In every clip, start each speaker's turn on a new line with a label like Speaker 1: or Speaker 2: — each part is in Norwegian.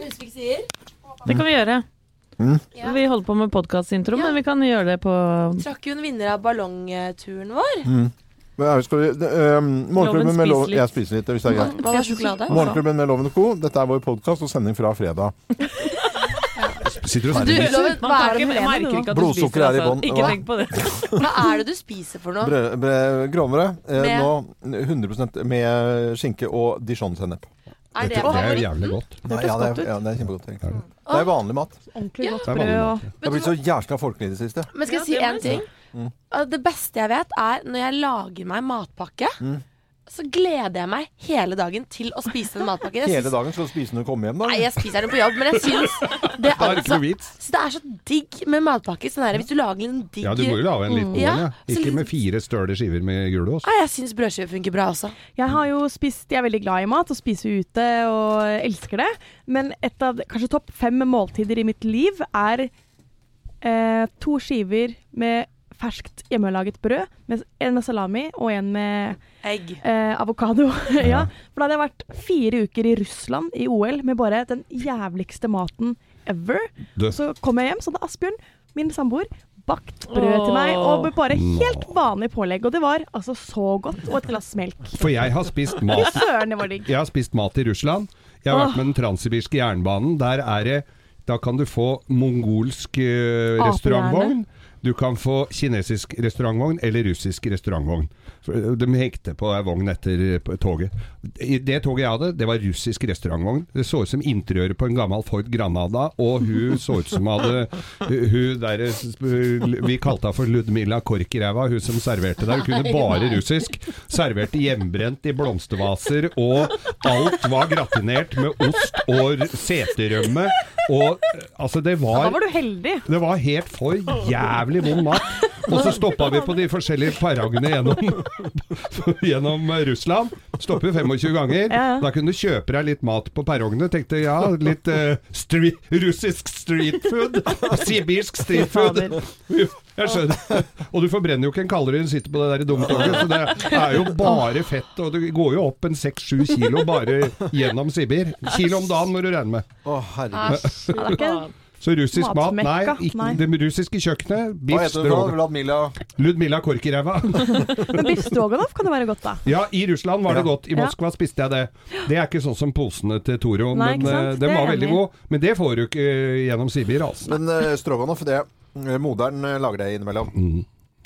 Speaker 1: Nesvik sier.
Speaker 2: Det kan vi gjøre.
Speaker 1: Ja.
Speaker 2: Vi holder på med podkastintro,
Speaker 1: Ja.
Speaker 2: men vi kan gjøre det på
Speaker 1: Trakk jo en vinner av ballongturen vår.
Speaker 3: Men jeg husker, eh, Morgenklubben
Speaker 2: Loven
Speaker 3: med loven
Speaker 2: spiser litt.
Speaker 3: Jeg spiser litt, hvis det er greit.
Speaker 1: Hva var sjokolade?
Speaker 3: Morgenklubben med Loven og Co. Dette er vår podkast og sending fra fredag.
Speaker 4: Sitter du og
Speaker 1: Du,
Speaker 4: svermer?
Speaker 1: Loven, hva er, det du
Speaker 2: jeg
Speaker 1: mener
Speaker 2: merker
Speaker 1: nå?
Speaker 2: ikke at du
Speaker 3: Blodsukker
Speaker 2: spiser,
Speaker 3: er i
Speaker 2: altså.
Speaker 3: bånn.
Speaker 2: Ikke
Speaker 3: Hva?
Speaker 2: tenk på det.
Speaker 1: hva er det du spiser for noe?
Speaker 3: Brød- brød- Grovmøre. Eh,
Speaker 1: Med?
Speaker 3: nå 100 med skinke og dijonsenep.
Speaker 1: Er det
Speaker 4: Det er jo
Speaker 1: favoritt?
Speaker 4: jævlig godt.
Speaker 3: Nei, Ja, det, er- ja, det er kjempegodt. egentlig.
Speaker 4: Det er
Speaker 3: Det er vanlig mat.
Speaker 2: Ordentlig
Speaker 1: Ja.
Speaker 2: godt
Speaker 4: Det er
Speaker 2: brød
Speaker 4: vanlig
Speaker 2: og
Speaker 4: mat. ja.
Speaker 3: Det har blitt så jævla folkelig i det siste.
Speaker 1: Men skal jeg
Speaker 2: Ja,
Speaker 1: si
Speaker 2: det må
Speaker 1: én
Speaker 2: jeg
Speaker 1: ting? Uh, Det beste jeg vet, er når jeg lager meg matpakke, så gleder jeg meg hele dagen til å spise den matpakken. Jeg
Speaker 3: Hele
Speaker 1: syns-
Speaker 3: dagen skal du spise når du kommer hjem, da.
Speaker 1: Nei, jeg spiser den på jobb, men jeg syns det,
Speaker 4: Da er det
Speaker 1: altså,
Speaker 4: ikke noe vits.
Speaker 1: så det er så digg med matpakke. Sånn her, hvis du lager en digg
Speaker 4: Ja, du må jo lage en liten
Speaker 1: Ja,
Speaker 4: en, ja.
Speaker 1: så
Speaker 4: Ikke
Speaker 1: litt-
Speaker 4: med fire støle skiver med gulost.
Speaker 1: Nei, Jeg syns brødskive funker bra også.
Speaker 5: Jeg har jo spist, jeg er veldig glad i mat og spiser ute og elsker det. Men et av kanskje topp fem måltider i mitt liv er eh, to skiver med ferskt hjemmelaget brød. Med, en med salami og en med
Speaker 1: Egg.
Speaker 5: eh, avokado. ja, for da hadde jeg vært fire uker i Russland i OL med bare den jævligste maten ever.
Speaker 4: Du.
Speaker 5: Så kom jeg hjem, så hadde Asbjørn, min samboer, bakt brød til meg. Og med bare helt vanlig pålegg. Og det var altså så godt. Og et glass melk.
Speaker 4: For jeg har spist mat
Speaker 5: Søren, det var digg.
Speaker 4: Jeg har spist mat i Russland. Jeg har vært med den transsibirske jernbanen. Der er det Da kan du få mongolsk eh,
Speaker 5: Apehjerne.
Speaker 4: restaurantvogn. Du kan få kinesisk restaurantvogn eller russisk restaurantvogn. For, eh, De hekte på ei vogn etter eh, på toget. I Det toget jeg hadde, det var russisk restaurantvogn. Det så ut som interiøret på en gammel Ford Granada, og hun så ut som hadde Hun hun der eh, Vi kalte henne for Ludmilla Korkiræva, hun som serverte der. Hun kunne bare russisk. Serverte hjemmebrent i blomstervaser, og alt var gratinert med ost og r- seterømme. Og eh, altså, det
Speaker 5: Da
Speaker 4: var
Speaker 5: var du heldig.
Speaker 4: det var helt for jævlig vond mat. Og så stoppa vi på de forskjellige paragene gjennom, gjennom Russland. Stopper 25 ganger.
Speaker 5: Ja, ja.
Speaker 4: Da kunne du kjøpe deg litt mat på perrongene. Tenkte ja, litt eh, stre- russisk street food. Sibirsk street food.
Speaker 5: Fader.
Speaker 4: Jeg skjønner. Og du forbrenner jo ikke en kalori når du sitter på det der dumme toget, så det er jo bare fett. Og du går jo opp en 6-7 kilo bare gjennom Sibir. Kilo om dagen må du regne med.
Speaker 3: Å, herregud.
Speaker 5: Det er ikke
Speaker 4: Så russisk mat, nei,
Speaker 5: Matmekka,
Speaker 4: ikke,
Speaker 5: nei.
Speaker 4: Det russiske kjøkkenet,
Speaker 3: Hva
Speaker 4: biff,
Speaker 3: heter du da?
Speaker 4: stroganoff.
Speaker 3: Vladmila
Speaker 4: Ludmilla Korkiræva.
Speaker 5: Men biff stroganoff kan jo være godt, da.
Speaker 4: Ja, i Russland var det
Speaker 3: Ja.
Speaker 4: godt. I
Speaker 5: Ja.
Speaker 4: Moskva spiste jeg det. Det er ikke sånn som posene til Toro,
Speaker 5: Nei, ikke
Speaker 4: men eh,
Speaker 5: sant? Det
Speaker 4: den
Speaker 5: er
Speaker 4: var
Speaker 5: jeg
Speaker 4: veldig
Speaker 5: enig i.
Speaker 4: god. Men det får du ikke eh, gjennom Sibir, altså.
Speaker 3: Men uh, stroganoff, det eh, Moderen eh, lager det innimellom.
Speaker 4: Mm.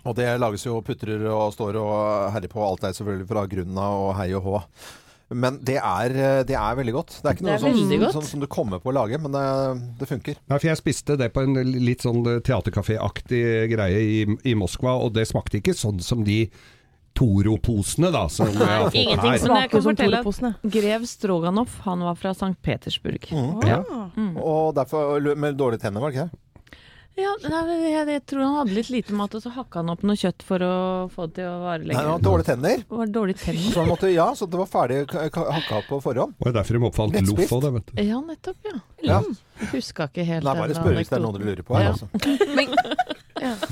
Speaker 3: Og det lages jo putrer og står og herrer på alt der, selvfølgelig, fra grunnen av og hei og hå. Men det er, eh, det er veldig godt. Det er ikke
Speaker 1: Det
Speaker 3: noe
Speaker 1: er veldig
Speaker 3: som,
Speaker 1: godt.
Speaker 3: som, som du kommer på å lage, men det, det funker.
Speaker 4: Nei, for jeg spiste det på en litt sånn teaterkaféaktig greie i, i Moskva, og det smakte ikke sånn som de Toro-posene, da. Som jeg har fått
Speaker 2: ingenting
Speaker 4: her.
Speaker 2: som- Men jeg kan
Speaker 5: Smaker som
Speaker 2: fortelle at-
Speaker 5: Tore-posene.
Speaker 2: Grev Stroganoff, han var fra St. Petersburg.
Speaker 3: Mm.
Speaker 4: Ja.
Speaker 5: Ah.
Speaker 1: Mm.
Speaker 3: Og derfor, Med dårlige tenner, var det ikke det?
Speaker 2: Ja, nei, men jeg, jeg tror han hadde litt lite mat, og så hakka han opp noe kjøtt for å få det til å vare
Speaker 3: Nei, han
Speaker 2: lenger.
Speaker 3: hadde dårlige tenner.
Speaker 2: Det var dårlig tenner.
Speaker 3: Så han måtte, ja, så det var ferdig k- k- hakka opp på forhånd.
Speaker 4: Det var derfor de oppfant
Speaker 3: Lettspist.
Speaker 4: loff òg, det, vet du.
Speaker 2: Ja, nettopp, ja.
Speaker 3: Ja.
Speaker 2: Huska ikke helt
Speaker 3: Nei, bare
Speaker 2: den
Speaker 3: spør hvis det er noe dere lurer på her,
Speaker 2: Ja.
Speaker 3: altså.
Speaker 1: Men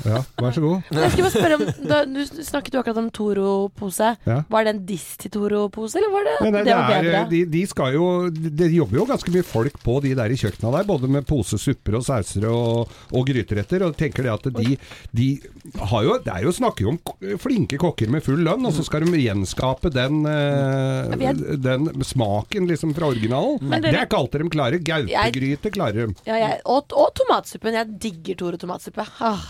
Speaker 4: Ja, vær så god.
Speaker 1: jeg skal bare spørre om da, Du snakket jo akkurat om Toro-pose.
Speaker 4: Ja.
Speaker 1: Var det en diss til Toro-pose, eller var det
Speaker 4: Nei, nei,
Speaker 1: det var
Speaker 4: det
Speaker 1: bedre?
Speaker 4: er, eh, de, de skal jo Det jobber jo ganske mye folk på de der i kjøkkena der, både med pose, supper og sauser og, og gryteretter. Og tenker det at de, de har jo Det er jo snakker jo om k- flinke kokker med full lønn, og så skal de gjenskape den, eh,
Speaker 1: Vi er-
Speaker 4: den smaken liksom fra originalen. Det er ikke alltid de klarer. Gaupegryte klarer de.
Speaker 1: Ja, jeg, og, og tomatsuppen. Jeg digger Toro tomatsuppe. Ah.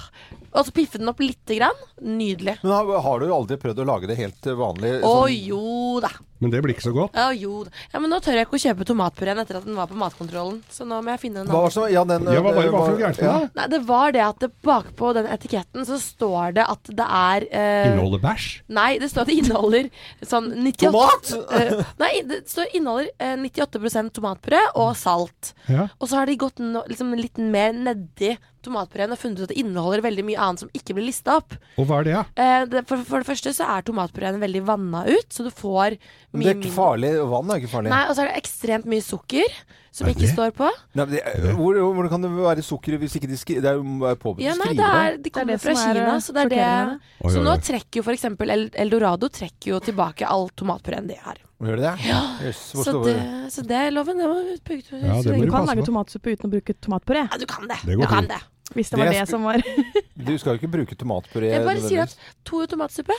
Speaker 1: Og så piffe den opp lite grann. Nydelig.
Speaker 3: Men har, har du aldri prøvd å lage det helt eh, vanlig?
Speaker 1: Å
Speaker 3: sånn-
Speaker 1: jo da.
Speaker 4: Men det blir ikke så godt.
Speaker 1: Å, jo da. Ja, men nå tør jeg ikke å kjøpe tomatpureen etter at den var på matkontrollen. Så nå må jeg finne en
Speaker 3: Hva var det
Speaker 1: annen.
Speaker 3: som Ja, den
Speaker 4: Ja, hva var det
Speaker 3: eh,
Speaker 4: hva for noe gærent med det?
Speaker 1: Nei, det var det at det bakpå den etiketten så står det at det er eh,
Speaker 4: Inneholder bæsj?
Speaker 1: Nei, det står at det inneholder sånn 98
Speaker 3: Tomat?
Speaker 1: Eh, nei, det står inneholder eh, 98 tomatpuré og salt.
Speaker 4: Ja.
Speaker 1: Og så har de gått no, liksom, litt mer nedi tomatpureen og funnet ut at det inneholder veldig mye annet som ikke blir lista opp.
Speaker 4: Og hva er det, da?
Speaker 1: Eh, det, for, for det første så er tomatpureen veldig vanna ut, så du får
Speaker 3: Men Det
Speaker 1: mye
Speaker 3: er ikke
Speaker 1: mindre
Speaker 3: farlig. Vann er ikke farlig.
Speaker 1: Nei, og så er det ekstremt mye sukker. som
Speaker 4: Er
Speaker 1: ikke
Speaker 4: det?
Speaker 1: står på.
Speaker 3: Nei, men det, hvor, hvordan kan det være sukker hvis ikke de skri, det er jo påbudt
Speaker 1: Ja,
Speaker 3: å
Speaker 1: nei, det
Speaker 3: skrive det?
Speaker 1: er, de
Speaker 5: Det er
Speaker 1: kommer
Speaker 5: det
Speaker 1: fra
Speaker 5: som er,
Speaker 1: Kina,
Speaker 5: eh,
Speaker 1: så det er det
Speaker 5: sjokkerende.
Speaker 4: Oi,
Speaker 1: Så
Speaker 4: oi,
Speaker 1: nå
Speaker 4: oi.
Speaker 1: trekker jo f.eks. Eldorado trekker jo tilbake all tomatpureen de har.
Speaker 3: Gjør det det? Jøss, hvor
Speaker 1: Så
Speaker 3: står
Speaker 1: det,
Speaker 3: det?
Speaker 1: så det er loven. Det må ut
Speaker 4: Ja, det må
Speaker 5: Du
Speaker 4: du
Speaker 5: kan
Speaker 4: passe
Speaker 5: lage
Speaker 4: på.
Speaker 5: tomatsuppe uten å bruke tomatpuré,
Speaker 1: Ja, du kan det.
Speaker 4: Det går
Speaker 1: du kan
Speaker 4: fint.
Speaker 1: det.
Speaker 5: hvis det
Speaker 3: Det
Speaker 5: var
Speaker 3: er
Speaker 5: det
Speaker 3: sp-
Speaker 5: som var
Speaker 3: Du skal jo ikke bruke tomatpuré.
Speaker 1: Jeg bare sier at
Speaker 3: nødvendigvis.
Speaker 1: to tomatsuppe,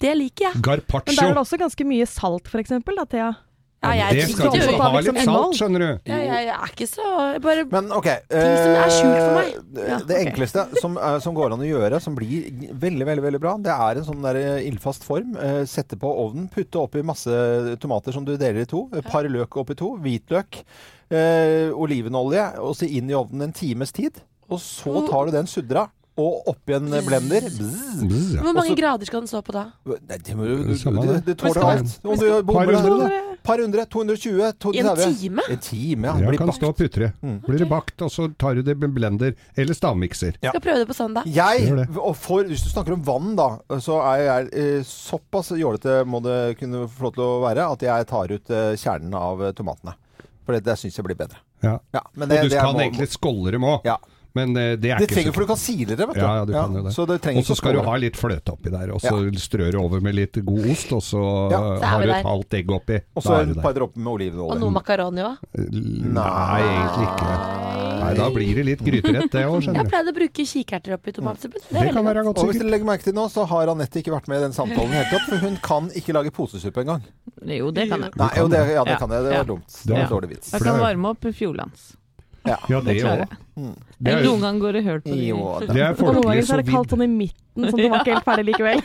Speaker 1: det liker jeg.
Speaker 5: Men der er det
Speaker 4: Garpaccio!
Speaker 5: også ganske mye salt, for eksempel, da, Thea.
Speaker 1: Ja,
Speaker 4: Ja, men
Speaker 1: jeg
Speaker 4: det skal
Speaker 1: driter
Speaker 4: du
Speaker 1: jo i-
Speaker 4: ha
Speaker 5: liksom
Speaker 4: litt salt,
Speaker 5: innhold.
Speaker 4: skjønner du.
Speaker 1: Ja, jeg, jeg er ikke så jeg bare,
Speaker 3: Men OK.
Speaker 1: som er skjult for meg.
Speaker 3: eh,
Speaker 1: Ja,
Speaker 3: det
Speaker 1: ok.
Speaker 3: enkleste som, er- som går an å gjøre, som blir g- veldig veldig, veldig bra, det er en sånn der eh, ildfast form. Eh, Sette på ovnen, putte oppi masse tomater som du deler i to. Et par løk oppi to. Hvitløk. Eh, olivenolje. Og så inn i ovnen en times tid. Og så tar du den sudra. Og oppi en blender. Bzzz.
Speaker 4: Bzz, ja.
Speaker 1: Hvor mange
Speaker 3: Også-
Speaker 1: grader skal den stå på da?
Speaker 3: Nei, det må jo
Speaker 4: Det
Speaker 3: Du,
Speaker 4: er samme
Speaker 3: du,
Speaker 4: det.
Speaker 3: du tåler
Speaker 4: Skal-
Speaker 3: alt. Om du bommer
Speaker 4: Par
Speaker 3: deg,
Speaker 4: hundre,
Speaker 3: da. Par hundre. 220.
Speaker 1: I en
Speaker 3: 230.
Speaker 1: time?
Speaker 3: En time, ja.
Speaker 4: Ja,
Speaker 3: Blir
Speaker 4: kan
Speaker 3: bakt. Mm.
Speaker 4: stå og putre. Blir det bakt, og så tar du det med blender eller stavmikser.
Speaker 3: Ja.
Speaker 1: Skal prøve det på søndag.
Speaker 3: Jeg,
Speaker 4: Gjør det.
Speaker 3: og for, Hvis du snakker om vann, da, så er jeg eh, såpass jålete må det kunne få lov til å være at jeg tar ut eh, kjernen av eh, tomatene. For det, det syns jeg blir bedre.
Speaker 4: Ja.
Speaker 3: Ja, men
Speaker 4: og du
Speaker 3: er
Speaker 4: kan
Speaker 3: må-
Speaker 4: egentlig skålle dem òg,
Speaker 3: Ja.
Speaker 4: men eh, det er
Speaker 3: Det
Speaker 4: ikke
Speaker 3: trenger for du kan sile det, vet du.
Speaker 4: Ja, ja, du kan jo det.
Speaker 3: Så det trenger
Speaker 4: Og så
Speaker 3: ikke
Speaker 4: skal du
Speaker 3: skåle.
Speaker 4: ha litt fløte oppi der, og så strør du over med litt god ost, og så
Speaker 3: Ja,
Speaker 4: eh,
Speaker 1: så er
Speaker 4: har
Speaker 1: vi
Speaker 4: du
Speaker 1: der.
Speaker 4: et halvt egg oppi.
Speaker 3: Og så
Speaker 4: Da er
Speaker 3: et
Speaker 4: du
Speaker 3: par
Speaker 4: der.
Speaker 3: dropper med
Speaker 1: Og
Speaker 3: olivenolje.
Speaker 1: noe makaroni òg.
Speaker 4: Nei, egentlig ikke. Nei, da blir det litt gryterett det òg,
Speaker 1: Jeg
Speaker 4: skjønner du.
Speaker 1: pleide å bruke kikerter oppi tomatsuppen. Det,
Speaker 4: Det
Speaker 1: er
Speaker 4: kan
Speaker 1: veldig godt.
Speaker 4: være godt
Speaker 3: Og hvis
Speaker 4: sikkert.
Speaker 3: dere legger merke til nå, så har Anette ikke vært med i den samtalen i det hele tatt. For hun kan ikke lage posesuppe engang.
Speaker 2: Jo, det kan jeg.
Speaker 3: Nei, jo, det, ja, det
Speaker 2: Ja.
Speaker 3: kan jeg. Det
Speaker 2: Ja.
Speaker 3: var dumt. Det var
Speaker 2: Ja.
Speaker 3: en dårlig vits.
Speaker 2: Jeg kan varme opp Fjordlands.
Speaker 4: Ja, det
Speaker 2: Det klarer
Speaker 4: òg.
Speaker 2: jeg.
Speaker 3: Mm.
Speaker 4: Det er,
Speaker 2: Noen ganger går det høl på de.
Speaker 3: Jo, det-
Speaker 4: det er
Speaker 5: Og noen
Speaker 4: folkelig
Speaker 5: ganger så er det kaldt
Speaker 4: sovid.
Speaker 5: sånn i midten, sånn at det var ikke helt ferdig likevel.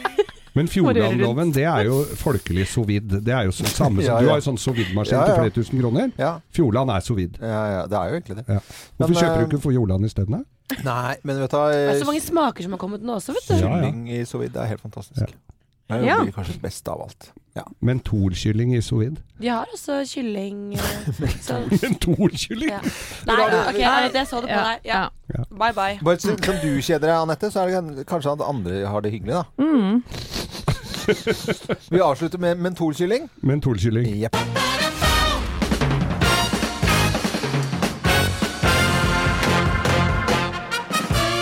Speaker 4: Men
Speaker 2: Bare
Speaker 4: Fjordlandloven, det er jo folkelig sovid. Det er jo så- samme som
Speaker 3: Ja,
Speaker 4: Du
Speaker 3: ja.
Speaker 4: har jo sånn sovidmaskin
Speaker 3: Ja, ja.
Speaker 4: til flere tusen kroner.
Speaker 3: Ja,
Speaker 4: Fjordland er sovid.
Speaker 3: ja, ja, det er jo egentlig det.
Speaker 4: Hvorfor
Speaker 3: Men,
Speaker 4: kjøper du
Speaker 3: eh,
Speaker 4: ikke Fjordland isteden? da?
Speaker 3: Nei, men vet
Speaker 1: Det er så
Speaker 3: du hva
Speaker 1: mange smaker som har kommet nå også, vet du.
Speaker 4: Ja, ja.
Speaker 3: Kylling i sous vide er helt fantastisk. Det
Speaker 5: Ja.
Speaker 3: blir kanskje det beste av alt. Ja.
Speaker 4: Mentolkylling i sovid.
Speaker 1: De har også kylling eh, så,
Speaker 4: Mentolkylling?
Speaker 1: ja. Nei, ok, nei, det så du på
Speaker 2: Ja.
Speaker 1: deg. Ja. Bye, bye.
Speaker 3: Bare som som du kjeder deg, Anette, så er det kan- kanskje at andre har det hyggelig, da. Vi avslutter med mentolkylling.
Speaker 4: Mentolkylling.
Speaker 3: Jepp.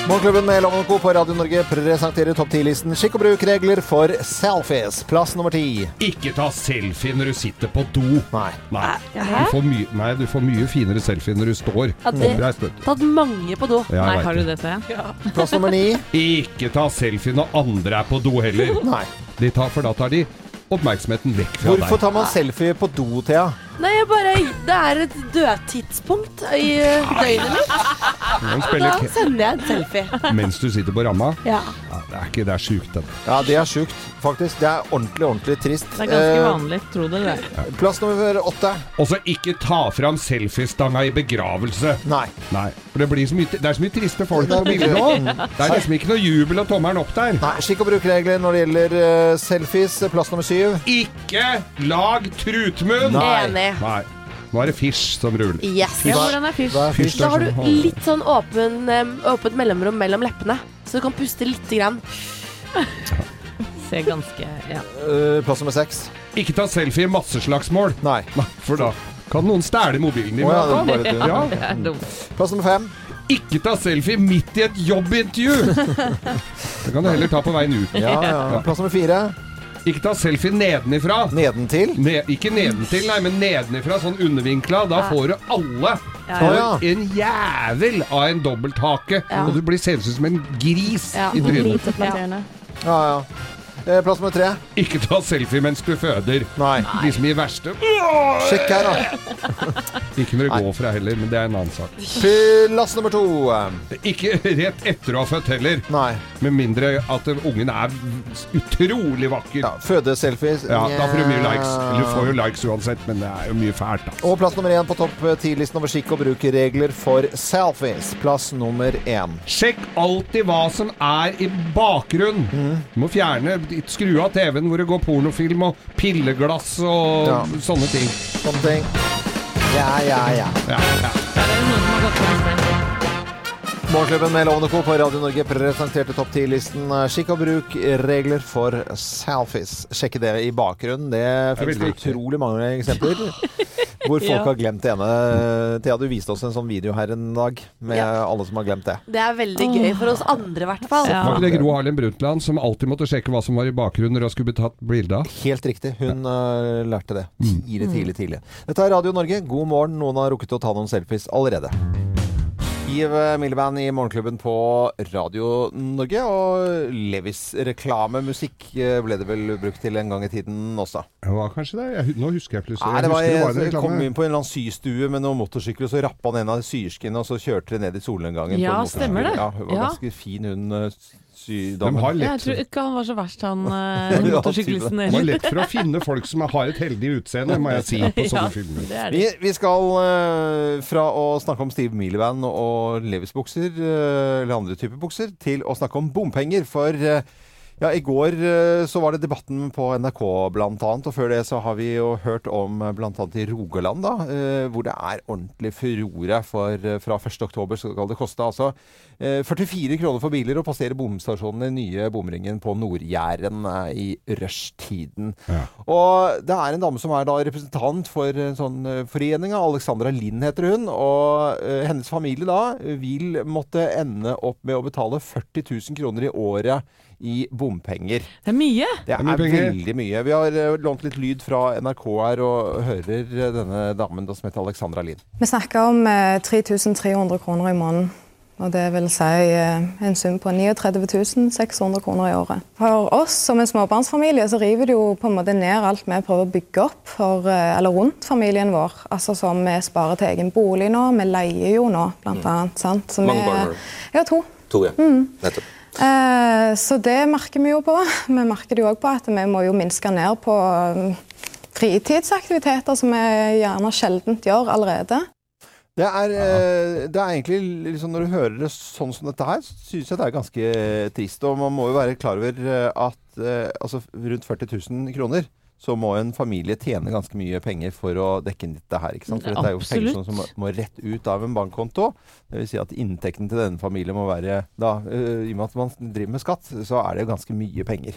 Speaker 3: Morgenklubben med Loven og Co. på Radio Norge presenterer topp 10-listen skikk og bruk-regler for selfies. Plass nummer ti.
Speaker 4: Ikke ta selfie når du sitter på do.
Speaker 3: Nei.
Speaker 4: Nei.
Speaker 1: Hæ?
Speaker 4: Du får mye, nei, du får mye finere selfie når du står
Speaker 1: Ja, det-
Speaker 4: oppreist. vet du.
Speaker 1: Tatt mange på do.
Speaker 4: Ja,
Speaker 2: Nei,
Speaker 4: jeg
Speaker 2: har
Speaker 4: vet
Speaker 2: du dette?
Speaker 3: Plass nummer ni.
Speaker 4: det. Ikke ta selfie når andre er på do heller.
Speaker 3: Nei.
Speaker 4: De tar, for da tar de oppmerksomheten vekk fra
Speaker 3: Hvorfor
Speaker 4: deg.
Speaker 3: tar man selfie på do, Thea?
Speaker 1: Nei, jeg bare Det er et dødtidspunkt i eh, døgnet mitt.
Speaker 4: Man
Speaker 1: Da
Speaker 4: spiller ke-
Speaker 1: sender jeg en selfie.
Speaker 4: mens du sitter på ramma.
Speaker 1: Ja.
Speaker 4: Ja, det er ikke det er sjukt. det.
Speaker 3: Ja, det er sjukt, faktisk. Det er ordentlig, ordentlig trist.
Speaker 2: Det er ganske vanlig, tro det eller ei.
Speaker 3: Eh, plass nummer åtte.
Speaker 4: Og så ikke ta fram selfiestanga i begravelse.
Speaker 3: Nei.
Speaker 4: Nei, for det, blir så mye, det er så mye triste folk på bildet nå. Det er liksom ikke noe jubel og tommelen opp der.
Speaker 3: Nei, Skikk og bruk-regler når det gjelder eh, selfies. Plass nummer syv.
Speaker 4: Ikke lag trutmunn!
Speaker 3: Nei.
Speaker 1: Enig.
Speaker 4: Nei. Nå er det fish som ruller.
Speaker 1: Yes.
Speaker 2: Ja, hvordan er fisk?
Speaker 3: Hva er
Speaker 4: Fish
Speaker 3: først?
Speaker 1: Da har
Speaker 4: som
Speaker 1: du
Speaker 4: holder.
Speaker 1: litt sånn åpen, eh, åpent mellomrom mellom leppene, så du kan puste lite grann.
Speaker 2: Ser ganske ja.
Speaker 3: Eh, plass nummer seks.
Speaker 4: Ikke ta selfie i masseslagsmål,
Speaker 3: Nei.
Speaker 4: Nei, for da kan noen stjele mobilen din.
Speaker 3: Å, ja, det var bare du.
Speaker 4: ja.
Speaker 2: Det er dumt.
Speaker 3: Plass nummer fem.
Speaker 4: Ikke ta selfie midt i et jobbintervju! Det kan du heller ta på veien ut.
Speaker 3: Ja, ja. Plass nummer fire.
Speaker 4: Ikke ta selfie nedenifra.
Speaker 3: Nedentil.
Speaker 4: Ne ikke nedentil, nei, men nedenifra, sånn undervinkla. Da får du alle.
Speaker 3: Å
Speaker 4: Og
Speaker 3: ja.
Speaker 4: En jævel av en dobbelthake,
Speaker 1: Ja.
Speaker 4: og du blir seende ut som en gris
Speaker 1: Ja.
Speaker 4: i trynet.
Speaker 5: Lite flatterende.
Speaker 3: ja, ja. Eh, plass nummer tre.
Speaker 4: Ikke ta selfie mens du føder.
Speaker 3: Nei.
Speaker 4: De som gir verste.
Speaker 3: Sjekk her, da.
Speaker 4: Ikke når du går fra heller, men det er en annen sak.
Speaker 3: Plass nummer to. eh,
Speaker 4: Ikke rett etter å ha født heller,
Speaker 3: Nei.
Speaker 4: med mindre at ungen er utrolig vakker.
Speaker 3: Ja, Fødeselfies.
Speaker 4: Ja, da får du mye likes. Du får jo
Speaker 3: likes.
Speaker 4: likes uansett, men det er jo mye fælt, da.
Speaker 3: Og plass nummer én på topp eh, ti-listen over skikk og bruk-regler for selfies. Plass nummer én.
Speaker 4: Sjekk alltid hva som er i bakgrunnen. Du må fjerne Skru av TV-en hvor det går pornofilm og pilleglass og
Speaker 3: Ja.
Speaker 4: sånne ting.
Speaker 3: Sånne ting. Ja, ja, ja.
Speaker 4: Ja, ja.
Speaker 2: Der er det noen som har gått på en smell.
Speaker 3: Morgenklubben med Lovende Co. på Radio Norge presenterte topp 10-listen Skikk og bruk, regler for selfies. Sjekke det i bakgrunnen. Det
Speaker 4: Jeg
Speaker 3: finnes
Speaker 4: vil
Speaker 3: det
Speaker 4: like det.
Speaker 3: utrolig mange eksempler hvor folk
Speaker 2: Ja.
Speaker 3: har glemt det ene. Thea, du viste oss en sånn video her en dag med
Speaker 1: Ja.
Speaker 3: alle som har glemt det.
Speaker 1: Det er veldig gøy for oss andre, i hvert fall.
Speaker 2: Ja.
Speaker 4: Var ikke det Gro Harlem Brundtland som alltid måtte sjekke hva som var i bakgrunnen når hun skulle bli tatt bilde av?
Speaker 3: Helt riktig. Hun øh, lærte det tidlig, tidlig, tidlig. Dette er Radio Norge. God morgen. Noen har rukket å ta noen selfies allerede. Giv Milleband eh, i Morgenklubben på Radio Norge. Og Levis-reklamemusikk eh, ble det vel brukt til en gang i tiden også.
Speaker 4: Det var kanskje det? Jeg, nå husker jeg plutselig.
Speaker 3: Nei, det var,
Speaker 4: jeg husker
Speaker 3: jeg
Speaker 4: det var
Speaker 3: kom
Speaker 4: en reklame.
Speaker 3: inn på en eller annen systue med noen motorsykler, og så rappa han en av syerskene, og så kjørte de ned i solnedgangen. på
Speaker 2: Ja,
Speaker 3: en motorsykkel.
Speaker 2: stemmer det.
Speaker 3: Ja, hun var
Speaker 2: Ja.
Speaker 3: ganske fin, hun eh,
Speaker 4: De
Speaker 3: sydamen.
Speaker 4: har
Speaker 2: Jeg
Speaker 4: lett,
Speaker 2: tror ikke han var så verst, han
Speaker 3: Ja,
Speaker 2: eh,
Speaker 3: det er
Speaker 2: motorsyklisten
Speaker 4: det var
Speaker 2: heller.
Speaker 4: lett for å finne folk som har et heldig utseende, må jeg si, på sånne filmer.
Speaker 2: det er det.
Speaker 3: Vi, vi skal eh, fra å snakke om Steve Miliband og Levis-bukser, eh, eller andre typer bukser, til å snakke om bompenger. For eh, ja, i går eh, så var det debatten på NRK blant annet, og før det så har vi jo hørt om eh, blant annet i Rogaland, da, eh, hvor det er ordentlig furore. For eh, fra 1. oktober skal det koste altså eh, 44 kroner for biler å passere bomstasjonen i nye bomringen på Nord-Jæren eh, i rushtiden. Og det er en dame som er da representant for en sånn eh, forening. Alexandra Lind heter hun. Og eh, hennes familie da vil måtte ende opp med å betale 40 000 kroner i året i bompenger.
Speaker 2: Det er mye!
Speaker 3: Det
Speaker 4: er mye
Speaker 3: er
Speaker 4: penger.
Speaker 3: veldig mye. Vi har eh, lånt litt lyd fra NRK her og hører eh, denne damen da, som heter Alexandra Lind.
Speaker 6: Vi snakker om eh, 3300 kroner i måneden. Og det vil si eh, en sum på 39 600 kroner i året. For oss som en småbarnsfamilie så river det jo på en måte ned alt vi prøver å bygge opp for, eh, eller rundt familien vår. Altså som vi sparer til egen bolig nå, vi leier jo nå blant annet. Sant? Så
Speaker 7: Mm. Mange barn har du?
Speaker 6: Ja, to. Mm.
Speaker 7: To, ja. Nettopp.
Speaker 6: Eh, Så det merker vi jo på. Vi merker det jo også på at vi må jo minske ned på eh, fritidsaktiviteter som vi gjerne sjeldent gjør allerede.
Speaker 3: Det er, eh, det er egentlig liksom Når du hører det sånn som dette her, så syns jeg det er ganske eh, trist. Og man må jo være klar over eh, at eh, altså rundt 40 000 kroner så må en familie tjene ganske mye penger for å dekke inn dette her. ikke sant? For dette er jo penger som,
Speaker 2: Absolutt.
Speaker 3: som må- må rett ut av en bankkonto. Det vil si at inntekten til denne familien må være da, eh, I og med at man driver med skatt, så er det jo ganske mye penger.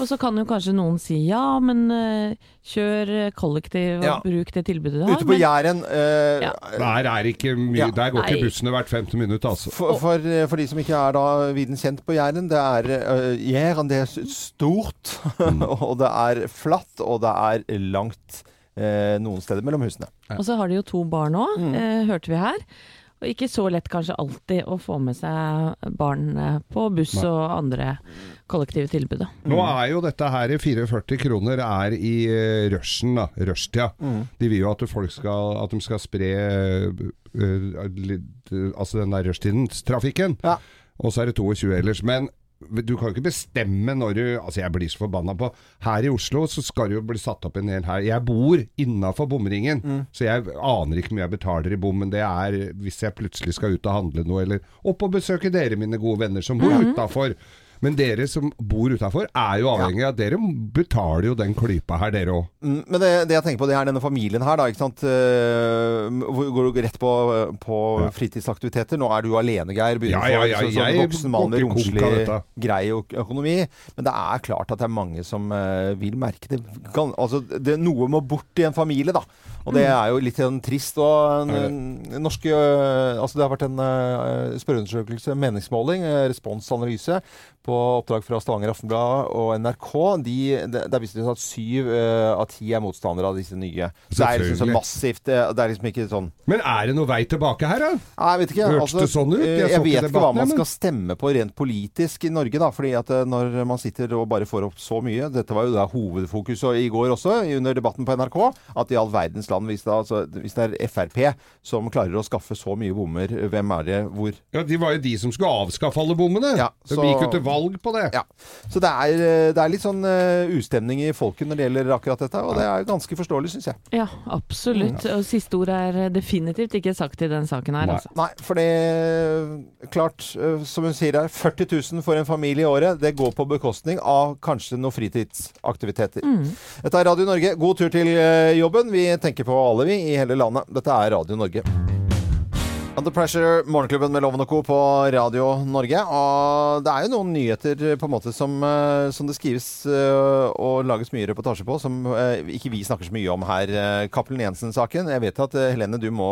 Speaker 2: Og så kan jo kanskje noen si ja, men eh, kjør eh, kollektiv og
Speaker 3: Ja.
Speaker 2: bruk det tilbudet du har.
Speaker 3: Ute på
Speaker 2: men-
Speaker 3: Jæren eh,
Speaker 2: Ja.
Speaker 4: Der er ikke mye
Speaker 3: Ja.
Speaker 4: Der går ikke
Speaker 2: Nei.
Speaker 4: bussene hvert femte minutt, altså.
Speaker 3: For, for, for de som ikke er da viden kjent på Jæren, det er øh, Jæren, det er s- stort, og det er flatt, og det er langt eh, noen steder mellom husene.
Speaker 2: Og så har de jo to barn òg, eh, hørte vi her. Og ikke så lett kanskje alltid å få med seg barn eh, på buss
Speaker 4: Nei.
Speaker 2: og andre kollektive tilbud. da.
Speaker 4: Nå er jo dette her i 44 kroner er i eh, rushen, da. Rushtida. De vil jo at folk skal At de skal spre eh, eh, litt, eh, Altså den der rushtidstrafikken.
Speaker 3: Ja.
Speaker 4: Og så er det 22 ellers. Men du kan jo ikke bestemme når du Altså, jeg blir så forbanna på Her i Oslo så skal det jo bli satt opp en hel her. Jeg bor innafor bomringen, så jeg aner ikke hvor mye jeg betaler i bom, men det er hvis jeg plutselig skal ut og handle noe, eller opp og besøke dere, mine gode venner, som bor utafor. Men dere som bor utafor, er jo avhengig av at dere betaler jo den klypa her, dere òg.
Speaker 3: Mm, Men det, det jeg tenker på, det er denne familien her, da. ikke sant? Eh, hvor går du rett på, på
Speaker 4: Ja.
Speaker 3: fritidsaktiviteter? Nå er du alene, Geir. Begynner
Speaker 4: Ja, ja, ja,
Speaker 3: å få en sånn
Speaker 4: jeg
Speaker 3: voksen mann med
Speaker 4: går ikke konk av
Speaker 3: romslig,
Speaker 4: dette.
Speaker 3: grei øk- økonomi. Men det er klart at det er mange som eh, vil merke det. Kan, altså, det. Noe må bort i en familie, da. Og det
Speaker 4: Mm.
Speaker 3: er jo litt sånn trist. Og en,
Speaker 4: Er det?
Speaker 3: en- norske, eh, altså, det har vært en eh, spørreundersøkelse, meningsmåling, eh, responsanalyse, på oppdrag fra Stavanger Aftenblad og NRK. De, de, der viste det seg at syv eh, av ti er motstandere av disse nye. Så det er liksom så
Speaker 4: Selvfølgelig.
Speaker 3: massivt. eh, Det er liksom ikke sånn
Speaker 4: Men er det noe vei tilbake her, da?
Speaker 3: Nei, jeg vet ikke. altså, eh,
Speaker 4: Hørtes det sånn ut? Jeg
Speaker 3: Jeg,
Speaker 4: så ikke
Speaker 3: vet ikke hva
Speaker 4: debatten,
Speaker 3: man
Speaker 4: men-
Speaker 3: skal stemme på rent politisk i Norge, da. fordi at eh, når man sitter og bare får opp så mye Dette var jo da hovedfokuset i går også, i- under debatten på NRK. At i all verdens land, hvis det, altså, hvis det er Frp som klarer å skaffe så mye bommer, hvem er det hvor?
Speaker 4: Ja, De var jo de som skulle avskaffe alle bommene.
Speaker 3: Ja,
Speaker 4: så...
Speaker 3: så-
Speaker 4: De gikk jo til valg på det.
Speaker 3: Ja. Så det er, eh, det er litt sånn eh, ustemning i folket når det gjelder akkurat dette, og det er jo ganske forståelig, syns jeg.
Speaker 2: Ja, absolutt. Og siste ord er definitivt ikke sagt i den saken her,
Speaker 4: Nei.
Speaker 2: altså.
Speaker 3: Nei, for det Klart, eh, som hun sier her, 40 000 for en familie i året. Det går på bekostning av kanskje noen fritidsaktiviteter.
Speaker 5: Mm.
Speaker 3: Dette er Radio Norge. God tur til eh, jobben. Vi tenker på alle, vi, i hele landet. Dette er Radio Norge. Under Pressure, morgenklubben med Loven og Co. på Radio Norge. Og det er jo noen nyheter eh, på en måte som, eh, som det skrives eh, og lages mye reportasje på, som eh, ikke vi snakker så mye om her. Eh, Cappelen Jensen-saken. Jeg vet at eh, Helene, du må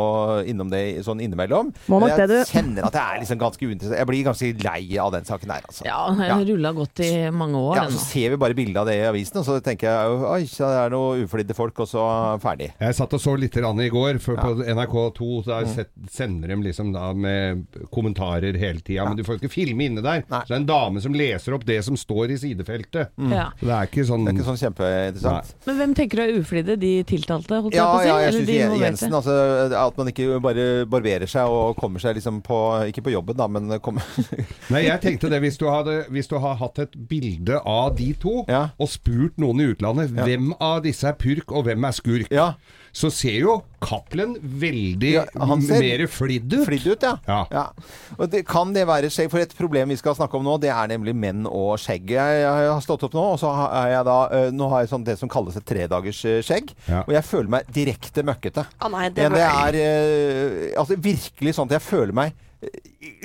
Speaker 3: innom det i- sånn innimellom.
Speaker 5: Må nok
Speaker 3: Men jeg
Speaker 5: det, du.
Speaker 3: kjenner at jeg er liksom ganske uinteressert. Jeg blir ganske lei av den saken der, altså.
Speaker 2: Ja, den
Speaker 3: Ja.
Speaker 2: rulla godt i mange år.
Speaker 3: Ja,
Speaker 2: den
Speaker 3: så
Speaker 2: nå.
Speaker 3: ser vi bare bildet av det i avisen, og så tenker jeg jo, oi, så er det noe uflidde folk, og så ferdig.
Speaker 4: Jeg satt og så litt grann i går for på NRK2. Der
Speaker 3: Mm.
Speaker 4: set, sender de liksom da med kommentarer hele tida. Men du får ikke filme inne der.
Speaker 3: Nei. Mm.
Speaker 4: Så det er en dame som leser opp det som står i sidefeltet.
Speaker 2: Ja.
Speaker 4: Så Det er ikke sånn,
Speaker 3: Det er ikke sånn kjempeinteressant.
Speaker 2: Men hvem tenker du er uflidde? De tiltalte, holdt
Speaker 3: Ja,
Speaker 2: jeg på å si?
Speaker 3: ja, jeg
Speaker 2: Eller
Speaker 3: syns
Speaker 2: de
Speaker 3: Je-
Speaker 2: involverte?
Speaker 3: Jensen altså, At man ikke bare barberer seg og kommer seg liksom på Ikke på jobben, da, men kommer
Speaker 4: Nei, jeg tenkte det hvis du, hadde, hvis du har hatt et bilde av de to,
Speaker 3: Ja.
Speaker 4: og spurt noen i utlandet
Speaker 3: Ja.
Speaker 4: hvem av disse er purk og hvem er skurk,
Speaker 3: Ja.
Speaker 4: så ser jo Cappelen veldig
Speaker 3: Ja, han ser
Speaker 4: mer flidd ut.
Speaker 3: Flidd ut, ja.
Speaker 4: Ja.
Speaker 3: Og det, kan det være skjegg? For et problem vi skal snakke om nå, det er nemlig menn og skjegg. Jeg, jeg har stått opp nå, og så har jeg da eh, Nå har jeg sånn det som kalles et tredagers eh, skjegg.
Speaker 4: Ja.
Speaker 3: Og jeg føler meg direkte møkkete.
Speaker 1: Å nei, det
Speaker 3: Det, det
Speaker 1: var-
Speaker 3: er eh, altså virkelig sånn at jeg føler meg eh,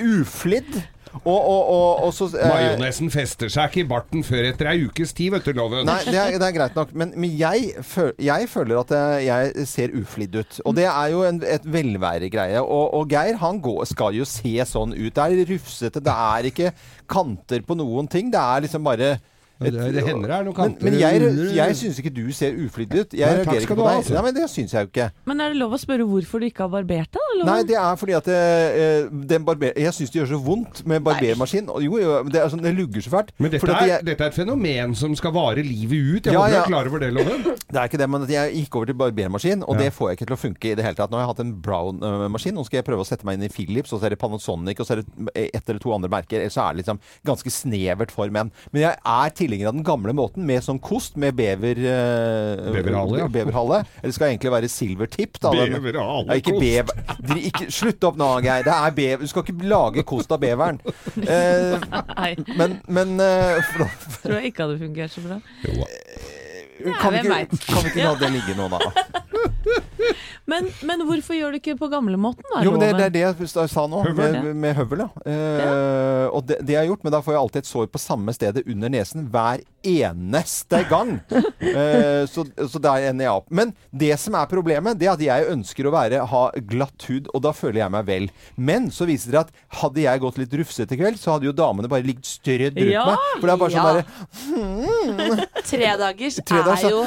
Speaker 3: uflidd. Og, og, og, og så eh,
Speaker 4: Majonesen fester seg ikke i barten før etter ei ukes tid, vet du, Loven.
Speaker 3: Nei, det er, det er greit nok. Men, men jeg, føl, jeg føler at jeg, jeg ser uflidd ut. Og det er jo en, et velværegreie. Og, og Geir han går, skal jo se sånn ut. Det er rufsete, det er ikke kanter på noen ting. Det er liksom bare
Speaker 4: Ja, det- det hender det er noen kanter
Speaker 3: Men, men jeg,
Speaker 4: under-
Speaker 3: jeg syns ikke du ser uflidd ut.
Speaker 4: Nei,
Speaker 3: Jeg
Speaker 4: takk
Speaker 3: reagerer
Speaker 4: skal
Speaker 3: ikke på
Speaker 4: du ha,
Speaker 3: deg.
Speaker 4: altså.
Speaker 3: Nei, men det syns jeg jo ikke.
Speaker 2: Men er det lov å spørre hvorfor du ikke har barbert deg? da,
Speaker 3: Nei,
Speaker 2: Loven?
Speaker 3: det er fordi at eh, den barber... Jeg syns det gjør så vondt med barbermaskin. Og Jo, jo, men det, er sånn, det lugger så fælt.
Speaker 4: Men dette
Speaker 3: Fordi at
Speaker 4: er,
Speaker 3: jeg-
Speaker 4: dette er et fenomen som skal vare livet ut. Jeg
Speaker 3: Ja,
Speaker 4: håper du
Speaker 3: ja.
Speaker 4: er klar over det, Loven.
Speaker 3: Det er ikke det, men at jeg gikk over til barbermaskin, og
Speaker 4: Ja.
Speaker 3: det får jeg ikke til å funke i det hele tatt. Nå har jeg hatt en Brown-maskin, nå skal jeg prøve å sette meg inn i Philips, og så er det Panasonic, og så er det ett eller to andre merker. Ellers så er det liksom ganske snevert for menn. Men jeg er tilhenger av den gamle måten, med sånn kost, med bever... eh,
Speaker 4: Beverhale, ja.
Speaker 3: Beverhale. Eller skal egentlig være silvertipp, da. den-
Speaker 4: Beverhale
Speaker 3: Ja, ikke
Speaker 4: kost.
Speaker 3: bever... Dri- Ikke, slutt opp nå, Geir. Det er bever... Du skal ikke lage kost av beveren. Eh,
Speaker 2: Nei,
Speaker 3: men, men eh, for-
Speaker 2: tror jeg ikke hadde fungert så bra.
Speaker 3: kan, vi
Speaker 2: hvem
Speaker 3: ikke,
Speaker 2: vet?
Speaker 3: kan vi ikke la det ligge nå, da?
Speaker 2: Men, men hvorfor gjør du ikke på gamlemåten, da,
Speaker 3: Jo, men det,
Speaker 2: Loven?
Speaker 3: det er det jeg sta- sa nå,
Speaker 4: Høvel.
Speaker 3: med, med høvel. Ja. Eh, Og det, det jeg har gjort, men da får jeg alltid et sår på samme stedet under nesen hver eneste gang. Eh, så, så der ender jeg opp. Men det som er problemet, det er at jeg ønsker å være, ha glatt hud, og da føler jeg meg vel. Men så viser det at hadde jeg gått litt rufsete i kveld, så hadde jo damene bare ligget strødd rundt
Speaker 2: Ja,
Speaker 3: meg. For det er bare sånn
Speaker 1: ja.
Speaker 3: derre
Speaker 1: Tredagers
Speaker 3: Tre dager,
Speaker 1: er
Speaker 3: så-
Speaker 1: jo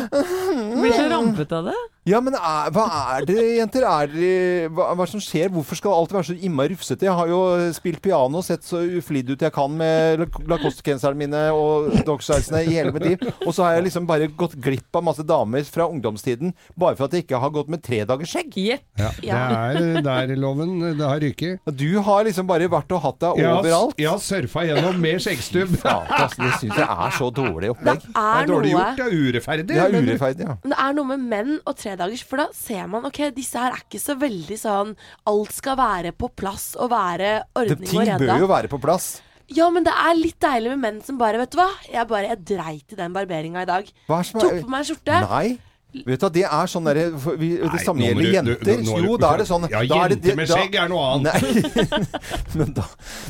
Speaker 2: Blir så rampete av det.
Speaker 3: Ja, men er, hva er det, jenter? Er det, hva, hva som skjer? Hvorfor skal alt være så innmari rufsete? Jeg har jo spilt piano og sett så uflidd ut jeg kan med la- lacoste-genserne mine og dogsizene i hele mitt liv. Og så har jeg liksom bare gått glipp av masse damer fra ungdomstiden bare for at jeg ikke har gått med tre dagers skjegg.
Speaker 2: Gjett.
Speaker 1: Ja.
Speaker 4: Det er der, Loven. Det har ryket.
Speaker 3: Du har liksom bare vært og hatt deg
Speaker 4: Jeg har-
Speaker 3: overalt.
Speaker 4: Jeg har surfa gjennom med skjeggstubb.
Speaker 3: Ja, altså, det syns jeg er så dårlig
Speaker 1: Det
Speaker 3: opplegg.
Speaker 4: Det er
Speaker 1: er
Speaker 4: dårlig
Speaker 1: noe
Speaker 4: gjort, det er urettferdig.
Speaker 3: Det er
Speaker 4: men-
Speaker 3: urettferdig, ja.
Speaker 1: Men det er noe med menn og tredagers, for da ser man ok, disse her er ikke så veldig sånn Alt skal være på plass og være
Speaker 3: Det,
Speaker 1: ordning og
Speaker 3: ting
Speaker 1: redda.
Speaker 3: bør jo være på plass.
Speaker 1: Ja, men det er litt deilig med menn som bare Vet du hva, jeg bare jeg dreit i den barberinga i dag.
Speaker 3: Hva er som
Speaker 1: Tok
Speaker 3: er
Speaker 1: på meg en skjorte.
Speaker 3: Nei. Vet du, hva, Det er sånn derre for vi-
Speaker 4: Nei,
Speaker 3: Det samme
Speaker 4: nå må
Speaker 3: gjelder
Speaker 4: du-
Speaker 3: jenter.
Speaker 4: du- nå- nå-
Speaker 3: jo, da er det sånn
Speaker 4: Ja,
Speaker 3: da er det-
Speaker 4: jenter med
Speaker 3: da-
Speaker 4: skjegg er noe annet.
Speaker 3: Nei, men da,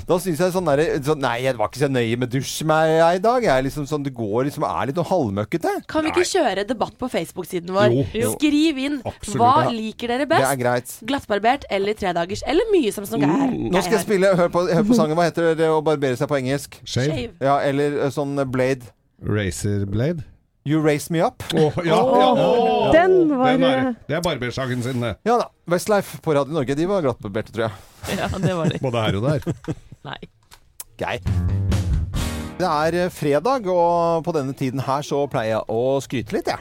Speaker 3: da syns jeg sånn derre sånn, Nei, jeg var ikke så nøye med dusj med jeg i dag. Jeg er liksom sånn, det går liksom er litt noe halvmøkkete.
Speaker 1: Kan vi ikke kjøre debatt på Facebook-siden vår?
Speaker 4: Jo. Jo.
Speaker 1: Skriv inn
Speaker 4: Absolutt.
Speaker 1: hva
Speaker 4: Ja.
Speaker 1: liker dere
Speaker 3: Det er
Speaker 1: best.
Speaker 3: greit. Mm.
Speaker 1: Glattbarbert eller tredagers, eller mye som som er.
Speaker 3: Nå skal jeg spille Hør på, hør på sangen. Hva heter det å barbere seg på engelsk?
Speaker 4: Shave.
Speaker 1: Shave.
Speaker 3: Ja, eller eh, sånn eh, Blade.
Speaker 4: Razor blade.
Speaker 3: You raise me up.
Speaker 4: Åh, ja, ja, åh,
Speaker 5: Den var-
Speaker 4: er, det er barbersangen sin, det.
Speaker 3: Ja da. Westlife på Radio Norge, de var glattbarberte, tror jeg.
Speaker 2: Ja, det var det.
Speaker 4: Både her og der.
Speaker 2: Nei.
Speaker 3: Grei. Det er eh, fredag, og på denne tiden her så pleier jeg å skryte litt, jeg.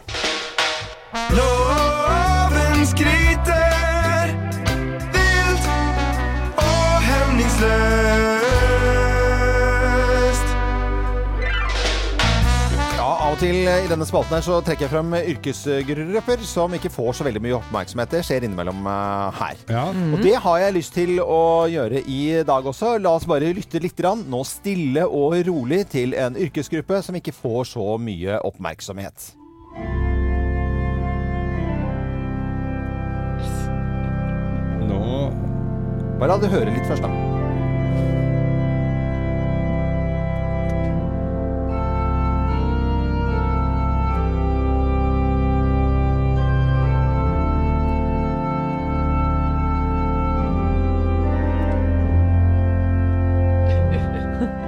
Speaker 7: Loven skryter vilt og hemningsløst.
Speaker 3: Ja, Av og til eh, i denne spalten her så trekker jeg fram eh, yrkesgrupper som ikke får så veldig mye oppmerksomhet. Det skjer innimellom eh, her.
Speaker 4: Ja.
Speaker 3: Og det har jeg lyst til å gjøre i dag også. La oss bare lytte litt grann, nå stille og rolig til en yrkesgruppe som ikke får så mye oppmerksomhet.
Speaker 4: Nå
Speaker 3: Bare la det høre litt først, da.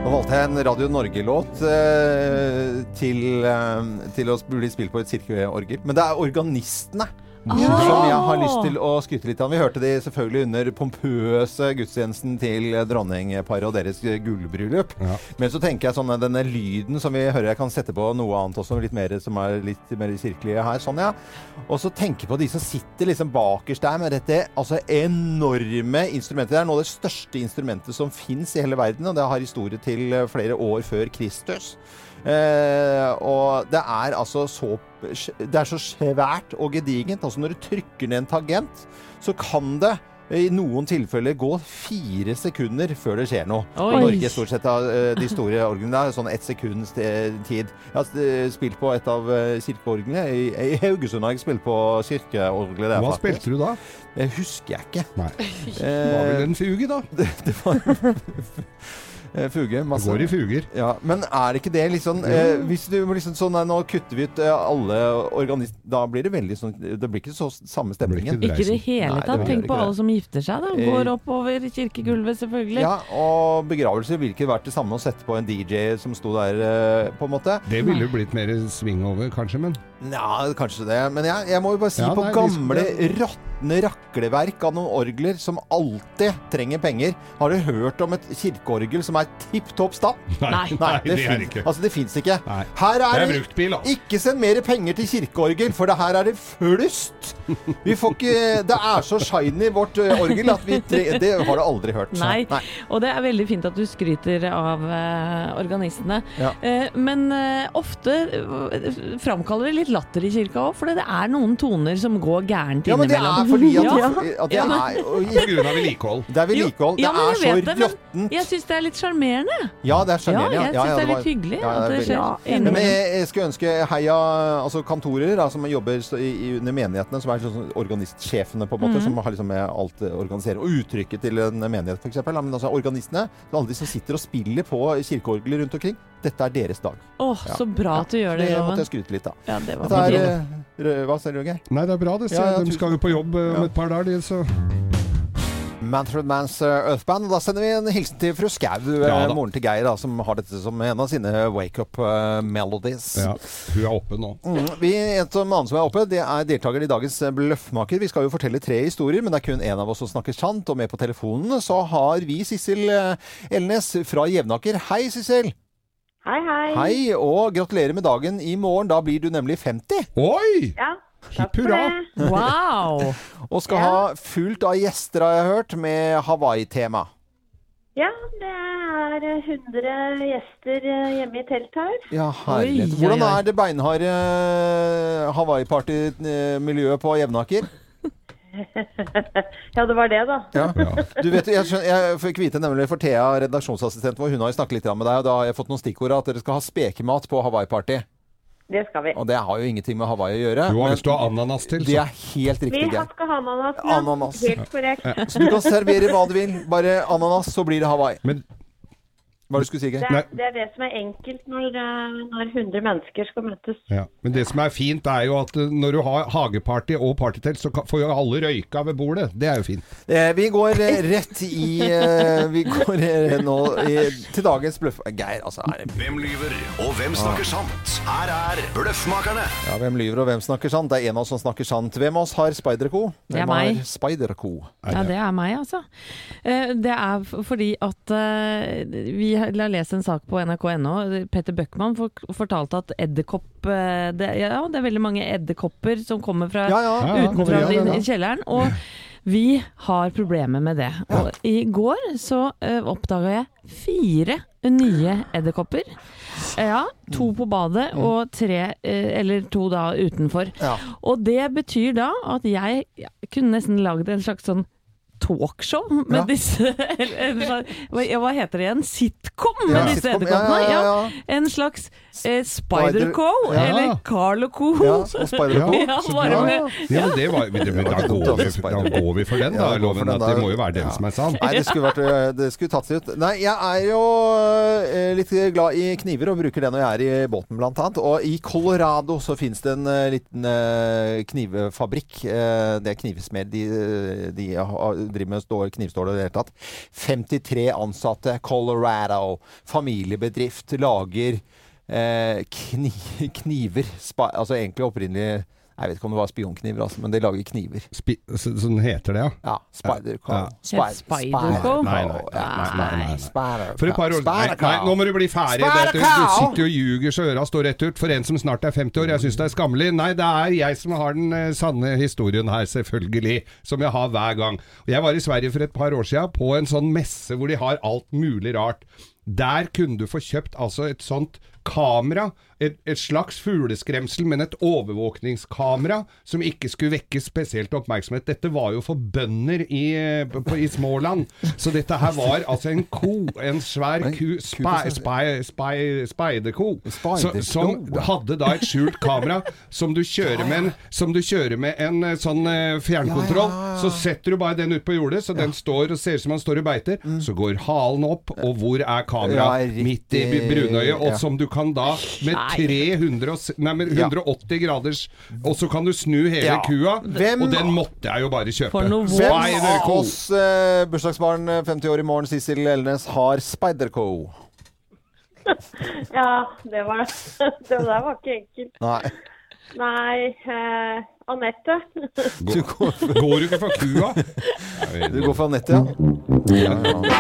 Speaker 3: Nå valgte jeg en Radio Norge-låt eh, til, eh, til å bli spilt på et kirkeorgel. Men det er organistene som jeg har lyst til å skryte litt av. Vi hørte de selvfølgelig under pompøse gudstjenesten til dronningparet og deres gullbryllup.
Speaker 4: Ja.
Speaker 3: Men så tenker jeg sånn eh, denne lyden som vi hører jeg kan sette på noe annet også, litt mer som er litt mer kirkelige her. Sånn, ja. Og så tenke på de som sitter liksom bakerst der med dette altså enorme instrumentet. Det er nå det største instrumentet som fins i hele verden, og det har historie til eh, flere år før Kristus. Eh, og det er altså så Det er så svært og gedigent. Altså når du trykker ned en tangent, så kan det i noen tilfeller gå fire sekunder før det skjer noe.
Speaker 2: Oi.
Speaker 3: Og Norge er stort sett av eh, de store orglene. Det er sånn ett sekunds eh, tid. Jeg har eh, spilt på et av eh, kirkeorglene. I, I Haugesund har jeg spilt på kirkeorgelet. der,
Speaker 4: Hva
Speaker 3: faktisk.
Speaker 4: spilte du da?
Speaker 3: Det husker jeg ikke.
Speaker 4: Nei, det var
Speaker 3: Eh,
Speaker 4: vel en fuge, da.
Speaker 3: det, det var eh, fuge.
Speaker 4: Det
Speaker 3: Masse.
Speaker 4: går i fuger.
Speaker 3: Ja, men er det ikke det liksom eh, Hvis du må liksom sånn nei, Nå kutter vi ut eh, alle organist... Da blir det veldig sånn Det blir ikke så samme
Speaker 4: Det blir ikke
Speaker 3: stemningen.
Speaker 4: det.
Speaker 2: Ikke i det
Speaker 3: Nei,
Speaker 2: hele
Speaker 3: det
Speaker 2: tatt.
Speaker 3: gjør
Speaker 2: Tenk
Speaker 3: ikke
Speaker 2: på alle
Speaker 3: det.
Speaker 2: som gifter seg, da.
Speaker 3: Eh,
Speaker 2: Går oppover kirkegulvet, selvfølgelig.
Speaker 3: Ja, og begravelse ville ikke vært det samme å sette på en DJ som sto der, eh, på en måte.
Speaker 4: Det ville jo blitt mer sving over, kanskje, men
Speaker 3: Nja, kanskje det. Men jeg, jeg må jo bare si
Speaker 4: Ja,
Speaker 3: på
Speaker 4: nei, vi
Speaker 3: gamle,
Speaker 4: skulle-
Speaker 3: råtne rakleverk av noen orgler som alltid trenger penger. Har du hørt om et kirkeorgel som er tipp topp stand?
Speaker 2: Nei.
Speaker 3: det,
Speaker 4: det er
Speaker 3: fin-
Speaker 4: det ikke.
Speaker 3: Altså, det fins ikke.
Speaker 4: Nei.
Speaker 3: Her
Speaker 4: Det
Speaker 3: er
Speaker 4: er
Speaker 3: det
Speaker 4: bruktbil, altså.
Speaker 3: Ikke send mer penger til kirkeorgel, for det her er det flust! Vi får ikke Det er så shiny, vårt ø, orgel, at vi tre, Det har du aldri hørt.
Speaker 2: Nei. Og det er veldig fint at du skryter av eh, organistene.
Speaker 3: Ja.
Speaker 2: Eh, men eh, ofte eh, framkaller det litt latter i kirka òg, for det er noen toner som går gærent
Speaker 3: Ja, men det
Speaker 2: innimellom.
Speaker 3: er fordi at,
Speaker 2: Ja.
Speaker 3: at det er og
Speaker 4: på
Speaker 3: i-
Speaker 4: grunn av vedlikehold.
Speaker 3: Det er vedlikehold.
Speaker 2: Jo, ja, men
Speaker 3: det
Speaker 2: jeg
Speaker 3: er så
Speaker 2: vet det, men-
Speaker 3: råttent.
Speaker 2: Jeg syns det er litt sjarmerende.
Speaker 3: Ja, det er
Speaker 2: Ja,
Speaker 3: sjarmerende.
Speaker 2: jeg syns det er litt hyggelig at det skjer.
Speaker 3: Men
Speaker 2: Enig.
Speaker 3: jeg, jeg skulle ønske heia altså kantorer da, som jobber så- i, i, under menighetene, som er sånn organistsjefene, på en
Speaker 2: Mm.
Speaker 3: måte, som har liksom med alt eh, organisere og uttrykket til en menighet, f.eks. Men altså organistene, alle de som sitter og spiller på kirkeorgelet rundt omkring, dette er deres dag.
Speaker 2: Åh,
Speaker 3: Ja.
Speaker 2: så bra at du gjør det,
Speaker 3: Det måtte
Speaker 2: Loven.
Speaker 3: jeg skryte litt av.
Speaker 2: Ja, det var
Speaker 3: Dette
Speaker 2: på
Speaker 3: er
Speaker 2: tide.
Speaker 3: eh, rød- Hva sier du, Geir?
Speaker 4: Nei, det er bra, det.
Speaker 3: Ja, ja,
Speaker 4: Ja, de
Speaker 3: tusen-
Speaker 4: skal jo på jobb eh, om
Speaker 3: Ja.
Speaker 4: et par dager, de, så
Speaker 3: Manfred Mans eh, Earthband. Og da sender vi en hilsen til fru Skau, eh,
Speaker 4: Ja da.
Speaker 3: moren til Geir, da, som har dette som en av sine wake-up eh, melodies.
Speaker 4: ja, Hun er oppe nå.
Speaker 3: Mm, vi, en som annen som er oppe, det er deltakeren i dagens eh, Bløffmaker. Vi skal jo fortelle tre historier, men det er kun én av oss som snakker sant. Og med på telefonen så har vi Sissel eh, Elnes fra Jevnaker. Hei, Sissel.
Speaker 8: Hei, hei.
Speaker 3: Hei, og gratulerer med dagen. I morgen da blir du nemlig 50,
Speaker 4: Oi!
Speaker 8: Ja,
Speaker 4: Hipp
Speaker 8: takk for
Speaker 4: hurra.
Speaker 8: det.
Speaker 2: Wow!
Speaker 3: og skal ha fullt av gjester, har jeg hørt, med Hawaii-tema.
Speaker 8: Ja, det er 100 gjester eh, hjemme i telt her.
Speaker 3: Ja, herlighet.
Speaker 2: Oi, oi,
Speaker 3: Hvordan
Speaker 2: oi.
Speaker 3: er det beinharde Hawaii-party-miljøet på Jevnaker?
Speaker 8: Ja, det var det, da.
Speaker 4: Ja.
Speaker 3: Du vet, jeg, skjønner, jeg fikk vite nemlig for Thea, redaksjonsassistent vår, hun har jo snakket litt med deg, og da har jeg fått noen stikkord at dere skal ha spekemat på Hawaii-party.
Speaker 8: Det skal vi.
Speaker 3: Og det har jo ingenting med Hawaii å gjøre.
Speaker 4: Jo,
Speaker 3: men
Speaker 4: hvis du har ananas til,
Speaker 3: det
Speaker 4: så.
Speaker 3: er helt
Speaker 8: Vi
Speaker 3: riktig, Geir.
Speaker 8: skal ha ananas. ja.
Speaker 3: Ananas.
Speaker 8: Helt korrekt.
Speaker 3: Så du kan servere hva du vil, bare ananas, så blir det Hawaii.
Speaker 4: Men
Speaker 3: Hva er det du skulle si, Geir?
Speaker 8: Det
Speaker 4: Nei.
Speaker 8: er, det er det som er enkelt når, eh, når 100 mennesker skal møtes.
Speaker 4: Ja. Men det som er fint, er jo at eh, når du har hageparty og partytelt, så kan- får jo alle røyka ved bordet. Det er jo fint.
Speaker 3: Eh, vi går eh, rett i eh, Vi går eh, nå eh, til dagens bløff... Geir, altså. Er det,
Speaker 7: Hvem lyver, og hvem snakker sant? Her er Bløffmakerne.
Speaker 3: ja, hvem lyver, og hvem snakker sant? Det er en av oss som snakker sant. Hvem av oss har speiderko?
Speaker 2: Det er
Speaker 3: Hvem har
Speaker 2: meg.
Speaker 3: Speiderko.
Speaker 2: Ja, det er meg, altså. Eh, Det er f- fordi at eh, vi har jeg har lest en sak på nrk.no. Petter Bøckmann fork- fortalte at edderkopp eh, det, Ja, det er veldig mange edderkopper som kommer fra
Speaker 3: Ja, ja.
Speaker 4: Ja, ja, kommer
Speaker 2: fra
Speaker 4: igjen,
Speaker 2: din-
Speaker 4: ja, ja.
Speaker 2: kjelleren. Og vi har problemer med det. Og i går så uh, oppdaga jeg fire nye edderkopper. Eh, Ja, to på badet og tre, eh, eller to da utenfor.
Speaker 3: Mm. Ja.
Speaker 2: Og det betyr da at jeg, jeg kunne nesten lagd en slags sånn talkshow med
Speaker 3: Ja.
Speaker 2: disse eller, en slags- hva, ja, hva heter det igjen? Sitcom med
Speaker 3: Ja,
Speaker 2: disse
Speaker 3: sitcom. Ja,
Speaker 2: edderkoppene?
Speaker 3: ja, ja, ja.
Speaker 2: En slags eh, Spider-Co
Speaker 4: Ja.
Speaker 2: eller Carlo-Co.
Speaker 3: Ja, og Spider-Co.
Speaker 2: Ja, bare
Speaker 4: Ja.
Speaker 2: med
Speaker 4: Ja, men det var, men, men da, går vi, da går vi for den, da.
Speaker 3: Ja, vi går for
Speaker 4: Loven
Speaker 3: den
Speaker 4: at
Speaker 3: der.
Speaker 4: det må jo være den
Speaker 3: Ja.
Speaker 4: som er sann.
Speaker 3: Nei, det skulle, vært, eh, det skulle tatt seg ut. Nei, jeg er jo eh, litt glad i kniver og bruker det når jeg er i båten, blant annet. Og i Colorado så fins det en eh, liten eh, knivefabrikk. Eh, Det er knivsmed. De, eh, de har- driver med stål, knivstål og i det hele tatt. 53 ansatte, Colorado. Familiebedrift. Lager eh, kni, kniver. Spa, altså egentlig opprinnelig Jeg vet ikke om det var spionkniver, altså, men de lager kniver.
Speaker 4: Spi, så, sånn heter det, ja.
Speaker 3: Ja. Spider-Co.
Speaker 4: Ja.
Speaker 3: Spider-
Speaker 2: Spider-Co?
Speaker 4: Nei, nei, nei, nei, nei, nei.
Speaker 3: Spider-Co.
Speaker 4: For et par år nei, nei, nå må du bli ferdig.
Speaker 3: Spare
Speaker 4: vet Du, du
Speaker 3: cow!
Speaker 4: sitter jo og ljuger så øra står rett ut for en som snart er 50 år. Jeg syns det er skammelig. Nei, det er jeg som har den eh, sanne historien her, selvfølgelig. Som jeg har hver gang. Og Jeg var i Sverige for et par år siden på en sånn messe hvor de har alt mulig rart. Der kunne du få kjøpt altså et sånt kamera, et, et slags fugleskremsel, men et overvåkningskamera som ikke skulle vekke spesielt oppmerksomhet. Dette var jo for bønder i, eh, på, i Småland, så dette her var altså en ko, en svær
Speaker 3: Men
Speaker 4: ku,
Speaker 3: ku på
Speaker 4: spa-
Speaker 3: Sverige.
Speaker 4: spa- spei- spei- speiderko.
Speaker 3: Speiderko.
Speaker 4: Så- Som hadde da et skjult kamera som du kjører med en, som du kjører med en eh, sånn eh, fjernkontroll. Så setter du bare den ut på jordet, så den står og ser ut som han står og beiter. Så går halen opp, og hvor er
Speaker 3: Mm. Ja,
Speaker 4: kameraet?
Speaker 3: riktig.
Speaker 4: Midt i b- brunøyet. Og
Speaker 3: Ja.
Speaker 4: som du kan da med 300 og, s- nei, med
Speaker 3: Ja.
Speaker 4: 180 graders Og så kan du snu hele
Speaker 3: Ja.
Speaker 4: kua.
Speaker 3: Hvem-
Speaker 4: Og den måtte jeg jo bare kjøpe.
Speaker 2: For noe
Speaker 3: Hvem
Speaker 2: vås.
Speaker 4: Spider-Co.
Speaker 3: av oss eh, bursdagsbarn eh, 50 år i morgen, Sissel Elnes, har Spider-Co?
Speaker 8: Ja, det var Det der var ikke enkelt.
Speaker 3: Nei.
Speaker 8: Nei, eh, Anette.
Speaker 3: Du går for,
Speaker 4: Går du ikke for kua?
Speaker 3: du går for Anette, ja? ja, ja.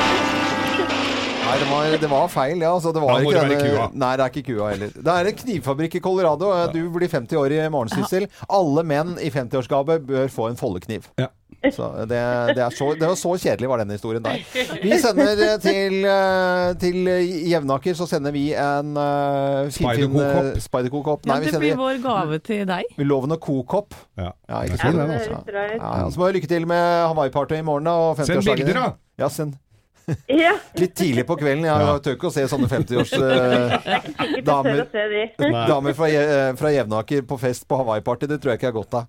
Speaker 3: Nei, det var, det var feil, ja. Altså, det var
Speaker 4: Da må
Speaker 3: ikke
Speaker 4: det være
Speaker 3: denne-
Speaker 4: kua.
Speaker 3: Nei, det er ikke kua heller. Det er en knivfabrikk i Colorado. eh, Du blir 50 år i morgen, Sissel. Alle menn i 50-årsgave bør få en foldekniv.
Speaker 4: Ja.
Speaker 3: Så det, det, er så, det var så kjedelig var den historien der. Vi sender eh, til, eh, til Jevnaker, så sender vi en eh, finfin
Speaker 4: Spider-Co-kopp.
Speaker 3: eh, Spider-Co-kopp.
Speaker 2: Ja,
Speaker 3: Nei, vi
Speaker 2: det blir
Speaker 3: sender
Speaker 2: vår gave til deg.
Speaker 3: Loven og Co-kopp.
Speaker 4: Ja.
Speaker 3: Ja, ikke
Speaker 4: Det er
Speaker 3: sant?
Speaker 4: sånn
Speaker 3: Ja,
Speaker 4: den, altså.
Speaker 8: Det høres bra ut.
Speaker 3: ja, så må vi lykke til med Hawaii-party i morgen. Da, og
Speaker 4: Send
Speaker 3: 50-årsdagen
Speaker 4: bilder,
Speaker 3: din.
Speaker 4: da!
Speaker 3: Ja, send.
Speaker 8: Ja,
Speaker 3: Litt tidlig på kvelden. Jeg
Speaker 4: Ja.
Speaker 3: tør ikke å se sånne 50-års eh,
Speaker 8: ikke til
Speaker 3: Damer.
Speaker 8: å se de.
Speaker 4: Nei.
Speaker 3: damer fra, Je eh, fra Jevnaker på fest på Hawaii-party. Det tror jeg ikke jeg har godt av.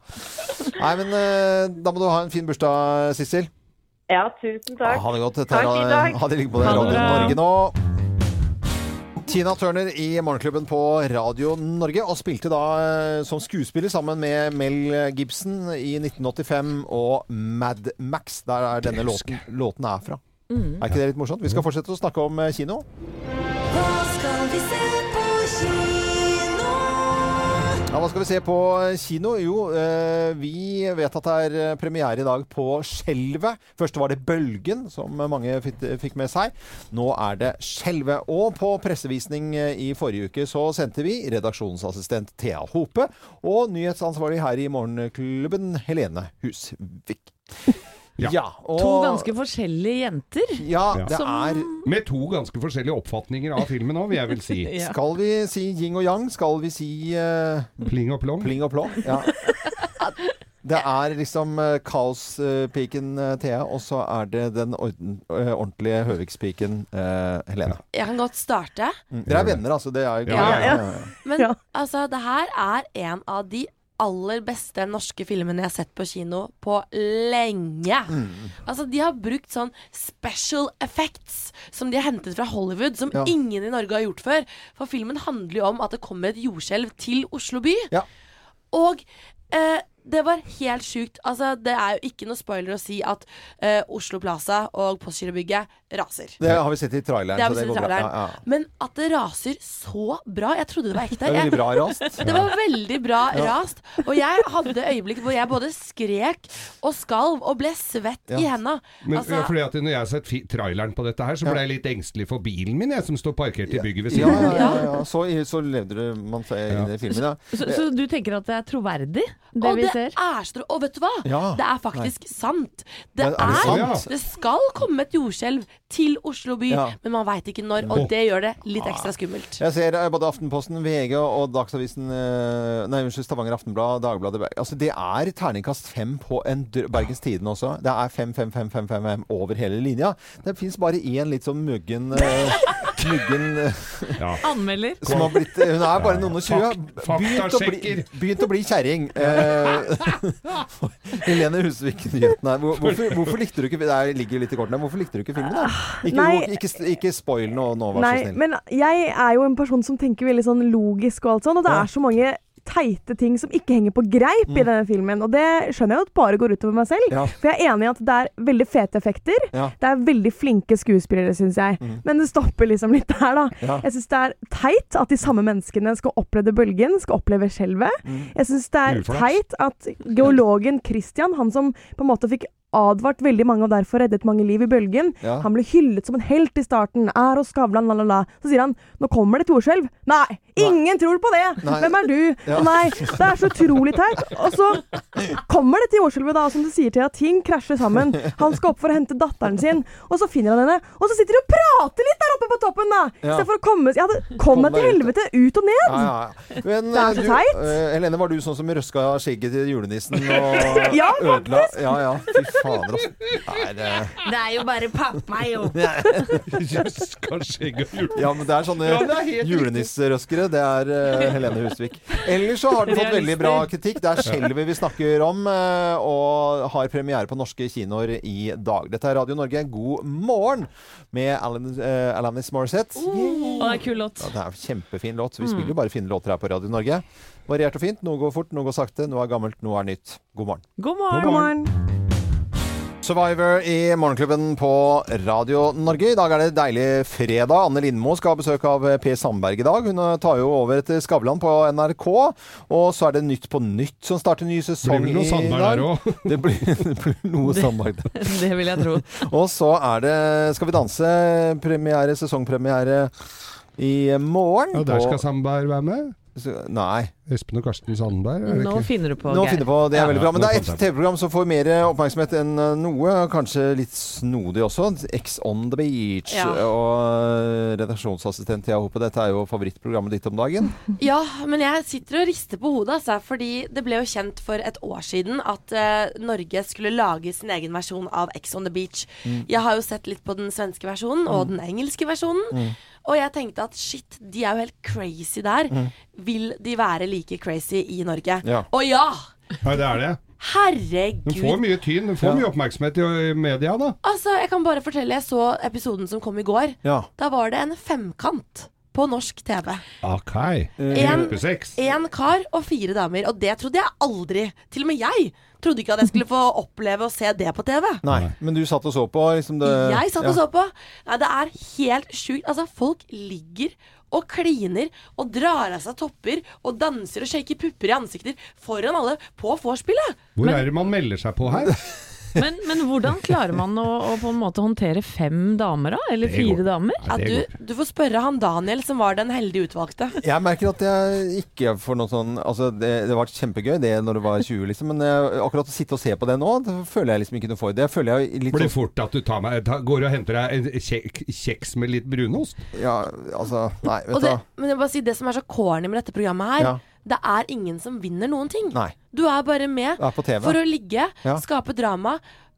Speaker 3: Nei, men eh, da må du ha en fin bursdag, Sissel.
Speaker 8: Ja, tusen
Speaker 3: Ja,
Speaker 8: takk.
Speaker 3: Ha det godt. Dette
Speaker 8: Takk, i
Speaker 3: er,
Speaker 8: dag.
Speaker 3: ha det ligget på den
Speaker 2: Ha det
Speaker 3: Radio
Speaker 2: bra.
Speaker 3: Norge nå. Tina Turner i Morgenklubben på Radio Norge, og spilte da eh, som skuespiller sammen med Mel Gibson i 1985 og Mad Max. Der er denne låten, låten er fra. Er ikke det litt morsomt? Vi skal fortsette å snakke om eh, kino. Ja, Hva skal vi se på kino? Jo, eh, vi vet at det er eh, premiere i dag på Skjelvet. Først var det Bølgen, som mange fit- fikk med seg. Nå er det Skjelvet. Og på pressevisning eh, i forrige uke så sendte vi redaksjonsassistent Thea Hope og nyhetsansvarlig her i Morgenklubben Helene Husvik.
Speaker 4: Ja.
Speaker 3: og,
Speaker 2: To ganske forskjellige jenter.
Speaker 3: Ja, det
Speaker 2: som-
Speaker 3: er
Speaker 4: Med to ganske forskjellige oppfatninger av filmen òg, vil jeg vel si.
Speaker 2: Ja.
Speaker 3: Skal vi si yin og yang? Skal vi si eh,
Speaker 4: Pling og plong.
Speaker 3: Pling og plong. Ja. Det er liksom eh, kaospiken eh, Thea, og så er det den orden, eh, ordentlige Høvikspiken eh, Helene.
Speaker 1: Jeg kan godt starte.
Speaker 3: Dere er venner, altså. Det er,
Speaker 4: Ja,
Speaker 5: ja.
Speaker 1: Men
Speaker 5: Ja.
Speaker 1: altså, det her er en av de aller beste norske filmene jeg har sett på kino på lenge.
Speaker 3: Mm.
Speaker 1: Altså, de har brukt sånn special effects som de har hentet fra Hollywood, som
Speaker 3: Ja.
Speaker 1: ingen i Norge har gjort før. For filmen handler jo om at det kommer et jordskjelv til Oslo by.
Speaker 3: Ja.
Speaker 1: Og eh, det var helt sjukt. Altså, det er jo ikke noe spoiler å si at eh, Oslo Plaza og Postgirobygget raser.
Speaker 3: Det har vi sett i traileren.
Speaker 1: Det har
Speaker 3: så
Speaker 1: vi sett i
Speaker 3: går bra.
Speaker 1: traileren.
Speaker 3: Ja, ja.
Speaker 1: Men at det raser så bra Jeg trodde det var ekte.
Speaker 3: Det er
Speaker 1: Jeg-
Speaker 3: veldig bra rast.
Speaker 1: det var veldig bra rast. Og jeg hadde øyeblikk hvor jeg både skrek og skalv og ble svett i
Speaker 3: Ja.
Speaker 1: henda.
Speaker 4: Men
Speaker 1: Altså,
Speaker 4: ja, fordi at Når jeg har sett fi- traileren på dette her, så ble jeg litt engstelig for bilen min, jeg som står parkert i bygget ved
Speaker 3: Ja,
Speaker 4: siden
Speaker 3: ja,
Speaker 4: av.
Speaker 3: ja, ja. Så, så levde du man seg inn i filmen, ja.
Speaker 2: Så, så du tenker at det er troverdig?
Speaker 1: og det Det
Speaker 5: ser.
Speaker 1: er så Og vet du hva?
Speaker 3: Ja.
Speaker 1: Det er faktisk sant. Det
Speaker 3: Men
Speaker 1: er,
Speaker 3: er det
Speaker 4: sant?
Speaker 1: Det skal komme et jordskjelv til Oslo by,
Speaker 3: Ja.
Speaker 1: men man veit ikke når. Og det gjør det litt ekstra skummelt.
Speaker 3: Jeg ser eh, både Aftenposten, VG og Dagsavisen eh, Nei, unnskyld, Stavanger Aftenblad, Dagbladet Ber- Altså, det er terningkast fem på en dr Bergens Tiden også. Det er fem, fem, fem, fem, fem, fem over hele linja. Det fins bare én litt sånn muggen eh, Muggen eh,
Speaker 2: Anmelder.
Speaker 3: som har blitt eh, Hun er bare noen og tjue.
Speaker 4: Fak-
Speaker 3: Begynt å bli,
Speaker 4: faktasjekker.
Speaker 3: begynt å bli kjerring. Eh, Helene Husvik Nyheten her. Hvor- Hvorfor, hvorfor likte du ikke Det ligger litt i kortene. Hvorfor likte du ikke filmen, da? Ikke,
Speaker 5: Ah, Nei.
Speaker 3: ikke, ikke spoil nå, nå, vær så
Speaker 5: Nei,
Speaker 3: snill.
Speaker 5: men jeg er jo en person som tenker veldig sånn logisk og alt sånn, og det
Speaker 3: Ja. Mm.
Speaker 5: er så mange teite ting som ikke henger på greip i denne filmen, og det skjønner jeg jo at bare går utover meg selv,
Speaker 3: Ja.
Speaker 5: for jeg er enig i at det er veldig fete effekter,
Speaker 3: Ja. Mm.
Speaker 5: det er veldig flinke skuespillere, synes jeg, men det stopper liksom litt der da.
Speaker 3: Ja.
Speaker 5: Jeg synes det er teit at de samme menneskene skal oppleve bølgen, skal oppleve skjelvet.
Speaker 3: Mm.
Speaker 5: Jeg synes det er
Speaker 4: Uflaks.
Speaker 5: teit at geologen Christian, han som på en måte fikk advart veldig mange og derfor reddet mange liv i bølgen,
Speaker 3: Ja.
Speaker 5: han ble hyllet som en helt i starten. Er hos Skavlan, la, la, la. Så sier han nå kommer det et jordskjelv. Nei! Ingen tror på det!
Speaker 3: Nei.
Speaker 5: Hvem er du?
Speaker 3: Ja.
Speaker 5: Nei! Det er så utrolig teit. Og så kommer dette jordskjelvet, da, og som du sier til at ting krasjer sammen. Han skal opp for å hente datteren sin, og så finner han henne. Og så sitter de og prater litt der oppe på toppen, da!
Speaker 3: Ja.
Speaker 5: Istedenfor å komme Jeg hadde Kom deg
Speaker 3: Kom deg
Speaker 5: til helvete! Ut og ned!
Speaker 3: Ja, ja, ja. Men,
Speaker 5: Det er så
Speaker 3: eh, du,
Speaker 5: teit.
Speaker 3: eh, Helene, var du sånn som røska skjegget til julenissen og
Speaker 5: Ja,
Speaker 3: ødela Ja, ja. Fy fader, altså. Nei, det-
Speaker 2: Det er jo bare pappa, jo.
Speaker 4: Jøss, kanskje ikke gjort
Speaker 3: Ja, men det er sånne
Speaker 4: Ja, det er helt
Speaker 3: julenisserøskere. Det er eh, Helene Husvik. Ellers så har den fått veldig bra kritikk. Det er skjelvet vi snakker om, eh, og har premiere på norske kinoer i dag. Dette er Radio Norge. God morgen med Alan, eh, Alanis Morissette.
Speaker 2: Og det er kul låt.
Speaker 3: Ja, det er en kjempefin låt. Vi spiller jo bare fine låter her på Radio Norge. Variert og fint. Noe går fort, noe går sakte. Noe er gammelt, noe er nytt. God morgen.
Speaker 2: God morgen.
Speaker 5: God morgen.
Speaker 3: Survivor i Morgenklubben på Radio Norge. I dag er det deilig fredag. Anne Lindmo skal ha besøk av Per Sandberg i dag. Hun tar jo over etter Skavlan på NRK. Og så er det Nytt på Nytt som starter ny
Speaker 4: Blir
Speaker 3: sesong
Speaker 4: vel
Speaker 3: Sånn i
Speaker 4: noe
Speaker 3: dag.
Speaker 4: Sandberg der òg.
Speaker 3: Det blir, det blir noe Sandberg der.
Speaker 2: Det vil jeg tro.
Speaker 3: Og så er det Skal vi danse premiere, sesongpremiere i morgen.
Speaker 4: Ja, der skal
Speaker 3: Og-
Speaker 4: Sandberg være med.
Speaker 3: Nei.
Speaker 4: Espen og Karsten Sandberg. er det
Speaker 2: Nå
Speaker 4: ikke?
Speaker 2: finner du på,
Speaker 3: Nå
Speaker 2: Geir.
Speaker 3: finner jeg på, det er
Speaker 4: Ja,
Speaker 3: veldig bra. Men
Speaker 4: nå
Speaker 3: det er
Speaker 4: fant
Speaker 3: et
Speaker 4: jeg på.
Speaker 3: TV-program som får mer oppmerksomhet enn eh, noe. Kanskje litt snodig også. X on the beach.
Speaker 1: Ja.
Speaker 3: Og eh, redaksjonsassistent Thea Hope, dette er jo favorittprogrammet ditt om dagen.
Speaker 1: Ja, men jeg sitter og rister på hodet, altså. Fordi det ble jo kjent for et år siden at eh, Norge skulle lage sin egen versjon av X on the beach. Jeg har jo sett litt på den svenske versjonen og den engelske versjonen. Og jeg tenkte at shit, de er jo helt crazy der. Vil de være like crazy i Norge?
Speaker 3: Ja.
Speaker 1: Og ja!
Speaker 4: Nei, det er det. Den får
Speaker 1: Herregud.
Speaker 4: mye tyn. Den får mye oppmerksomhet i i media, da.
Speaker 1: Altså, jeg kan bare fortelle, jeg så episoden som kom i går.
Speaker 3: Ja.
Speaker 1: Da var det en femkant på norsk TV.
Speaker 4: Ok.
Speaker 1: En
Speaker 4: Gruppe seks.
Speaker 1: Én kar og fire damer, og det trodde jeg aldri. Til og med jeg trodde ikke at jeg skulle få oppleve å se det på TV.
Speaker 3: Nei, men du satt og så på? Liksom det,
Speaker 1: Jeg satt og
Speaker 3: ja.
Speaker 1: så på. Nei, det er helt sjukt. Altså, folk ligger og kliner og drar av seg topper og danser og shaker pupper i ansikter foran alle på vorspielet.
Speaker 4: Hvor er det man melder seg på her?
Speaker 2: Men, men hvordan klarer man å, å på en måte håndtere fem damer, da? Eller
Speaker 4: Det går.
Speaker 2: fire damer?
Speaker 1: Ja,
Speaker 4: det går
Speaker 1: du, du får spørre han Daniel, som var den heldig utvalgte.
Speaker 3: Jeg merker at jeg ikke får noe sånn Altså, det, det var kjempegøy det når du var 20, liksom, men eh, akkurat å sitte og se på det nå, det føler jeg liksom ikke noe for. Det føler jeg litt
Speaker 4: Blir
Speaker 3: sånn
Speaker 4: fort at du tar meg, ta, går og henter deg en kjek, kjeks med litt brunost.
Speaker 3: Ja, altså Nei,
Speaker 1: Og
Speaker 3: vet du
Speaker 1: det,
Speaker 3: hva.
Speaker 1: men jeg vil bare si, det som er så corny med dette programmet her,
Speaker 3: Ja.
Speaker 1: det er ingen som vinner noen ting.
Speaker 3: Nei.
Speaker 1: Du er bare med
Speaker 3: Det er på TV.
Speaker 1: for å ligge,
Speaker 3: Ja.
Speaker 1: skape drama,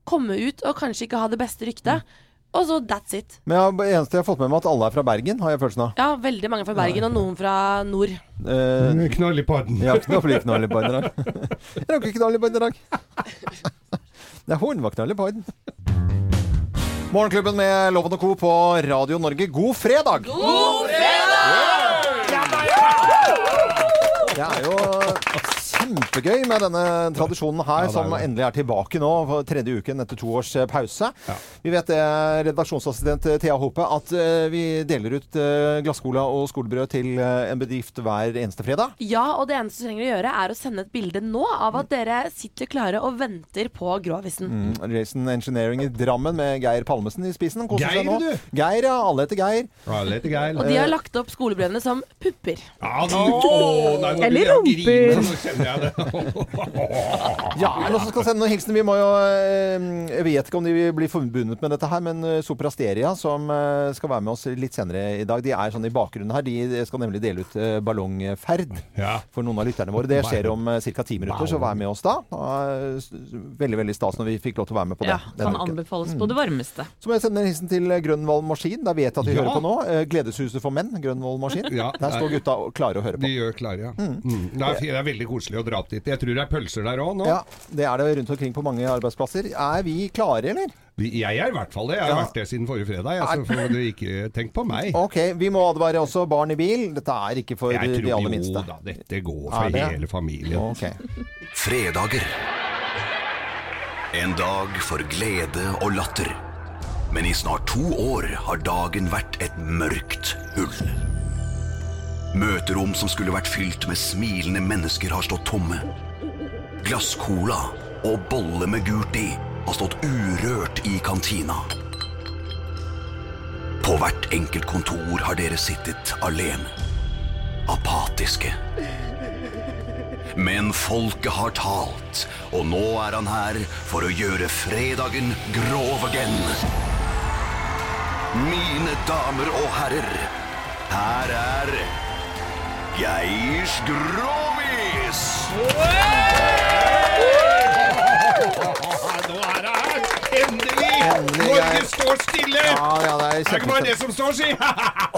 Speaker 1: komme ut og kanskje ikke ha det beste ryktet.
Speaker 3: Mm.
Speaker 1: Og så that's it.
Speaker 3: Men jeg, det eneste jeg har fått med meg, at alle er fra Bergen, har jeg følelsen av.
Speaker 1: Ja, veldig mange fra Bergen og noen fra nord.
Speaker 3: Eh,
Speaker 4: Knall i padden.
Speaker 3: Jeg har ikke noe fly knall i på i dag. Jeg rakk ikke knall i på i dag. Nei, hun var knall i på i den. Morgenklubben med Loven og Co. på Radio Norge, god fredag! God fredag! Det er jo kjempegøy med denne tradisjonen her,
Speaker 4: Ja, det er
Speaker 3: som
Speaker 4: det.
Speaker 3: endelig er tilbake nå for tredje uken etter to års eh, pause. Vi vet det, redaksjonsassistent Thea Hope, at eh, vi deler ut eh, glasscola og skolebrød til eh, en bedrift hver eneste fredag.
Speaker 1: Ja, og det eneste du trenger å gjøre, er å sende et bilde nå av
Speaker 3: Mm.
Speaker 1: at dere sitter klare og venter på Gråvisen.
Speaker 3: Mm. Jason Engineering i Drammen med Geir Palmesen i spissen. Koser
Speaker 4: Geir,
Speaker 3: seg nå.
Speaker 4: du!
Speaker 3: Geir, ja. Alle heter Geir.
Speaker 4: Ja, litt geil.
Speaker 1: Og
Speaker 3: Eh.
Speaker 1: de har lagt opp skolebrødene som pupper.
Speaker 4: Ja, nå- Åh, nei, nå
Speaker 5: Eller
Speaker 4: begynner jeg å grine,
Speaker 5: rumper.
Speaker 4: Nå kjenner jeg Ah,
Speaker 3: Ja, er det noen som skal sende noen hilsen? Vi må jo eh, Jeg vet ikke om de vil bli forbundet med dette her, men eh, Soprasteria, som eh, skal være med oss litt senere i dag, de er sånn i bakgrunnen her. De skal nemlig dele ut eh, ballongferd
Speaker 4: Ja.
Speaker 3: for noen av lytterne våre. Det skjer om ca. ti minutter, så vær med oss da. Og, eh, s- Veldig, veldig stas når vi fikk lov til å være med på det.
Speaker 2: Ja, kan
Speaker 3: denne uken.
Speaker 2: anbefales på det varmeste.
Speaker 3: Så må jeg sende en hilsen til eh, Grønvoll Maskin. Der vet jeg at de
Speaker 4: Ja.
Speaker 3: hører på nå. Eh, Gledeshuset for menn, Grønvoll Maskin.
Speaker 4: Ja.
Speaker 3: Der står gutta og klarer å høre
Speaker 4: De
Speaker 3: på.
Speaker 4: gjør klare, ja. Mm. Det, er, fi- det er veldig koselig å dra opp dit. Jeg tror det er pølser der òg nå.
Speaker 3: Ja, Det er det rundt omkring på mange arbeidsplasser. Er vi klare, eller?
Speaker 4: Vi- Jeg er i hvert fall det. Jeg har
Speaker 3: Ja.
Speaker 4: vært det siden forrige fredag. Jeg, så får dere ikke tenke på meg.
Speaker 3: Ok, vi må advare også barn i bil. Dette er ikke for
Speaker 4: Jeg
Speaker 3: de aller
Speaker 4: tror
Speaker 3: minste.
Speaker 4: jo da, dette går
Speaker 3: Er
Speaker 4: for
Speaker 3: det?
Speaker 4: hele familien.
Speaker 3: Ok.
Speaker 7: Fredager. En dag for glede og latter. Men i snart to år har dagen vært et mørkt hull. Møterom som skulle vært fylt med smilende mennesker, har stått tomme. Glasscola og bolle med gult i har stått urørt i kantina. På hvert enkelt kontor har dere sittet alene. Apatiske. Men folket har talt, og nå er han her for å gjøre fredagen grov again. Mine damer og herrer, her er Geir Grovis!
Speaker 4: Nå er det her! Endelig!
Speaker 3: Endelig, Norge jeg-
Speaker 4: står stille!
Speaker 3: Ja, ja, det er kjempefint.
Speaker 4: som står, si!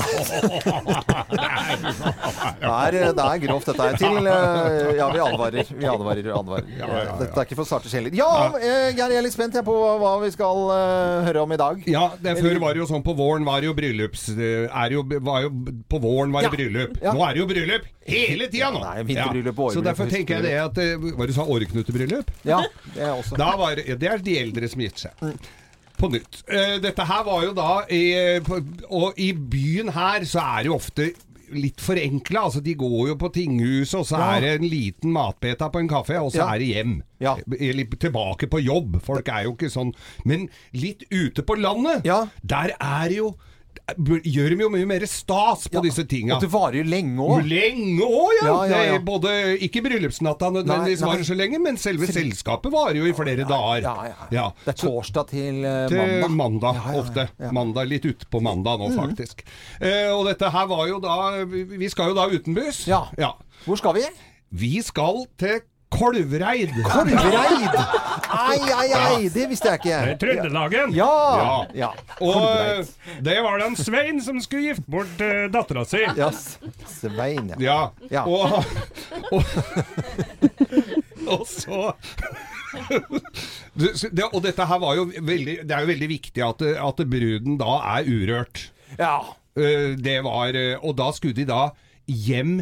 Speaker 3: Det er, det er grovt, dette her. Til eh, Ja, vi advarer. Vi advarer, advarer. Dette er ikke for starte sjeler. Ja, eh, Geir, jeg er litt spent jeg, på hva vi skal eh, høre om i dag.
Speaker 4: Ja, det, før var det jo sånn på våren var det jo bryllups... eh, Er jo, var jo, på våren var det
Speaker 3: Ja.
Speaker 4: bryllup.
Speaker 3: Ja.
Speaker 4: Nå er det jo bryllup hele tida nå!
Speaker 3: Ja, det er vinterbryllup og
Speaker 4: Så derfor
Speaker 3: årbryllup,
Speaker 4: tenker jeg det at eh, Hva du sa åreknutebryllup?
Speaker 3: Ja, det er også.
Speaker 4: Da var, det- det er de eldre som gifter seg. På nytt. Eh, Dette her var jo da i, eh, på, Og i byen her så er det jo ofte litt forenkla. Altså, de går jo på tinghuset, og så
Speaker 3: Ja.
Speaker 4: er det en liten matbeta på en kafé, og så
Speaker 3: Ja.
Speaker 4: er det hjem.
Speaker 3: Ja.
Speaker 4: Eller tilbake på jobb. Folk er jo ikke sånn. Men litt ute på landet,
Speaker 3: Ja.
Speaker 4: der er jo Gjør de jo mye mer stas på
Speaker 3: Ja,
Speaker 4: disse tinga.
Speaker 3: Og det varer jo lenge òg.
Speaker 4: Lenge òg, ja!
Speaker 3: Ja, ja, ja.
Speaker 4: Det er Både, ikke bryllupsnatta nødvendigvis
Speaker 3: Nei, nei.
Speaker 4: varer så lenge, men selve selskapet varer jo i flere dager.
Speaker 3: Ja, ja. Det er
Speaker 4: Så-
Speaker 3: torsdag til eh,
Speaker 4: til
Speaker 3: mandag. Ja,
Speaker 4: mandag,
Speaker 3: ja, ja.
Speaker 4: ofte.
Speaker 3: Ja. Mhm.
Speaker 4: Mandag, Litt ute på mandag nå, faktisk. Eh, og dette her var jo da Vi vi skal jo da utenbys.
Speaker 3: Ja. Hvor skal vi?
Speaker 4: Vi skal til Kolvereid.
Speaker 3: Kolvereid! Ai, ai, ai! Det visste jeg ikke.
Speaker 4: Trøndelagen.
Speaker 3: Ja!
Speaker 4: ja.
Speaker 3: ja.
Speaker 4: Og eh,
Speaker 3: Kolvereid.
Speaker 4: det var da en Svein som skulle gifte bort uh, dattera si.
Speaker 3: Ja, s- Svein, ja.
Speaker 4: Ja.
Speaker 3: Ja.
Speaker 4: Og, og, og så Du, så det, Og dette her var jo veldig Det er jo veldig viktig at, at bruden da er urørt.
Speaker 3: ja.
Speaker 4: Eh, Det var eh, Og da skulle de da hjem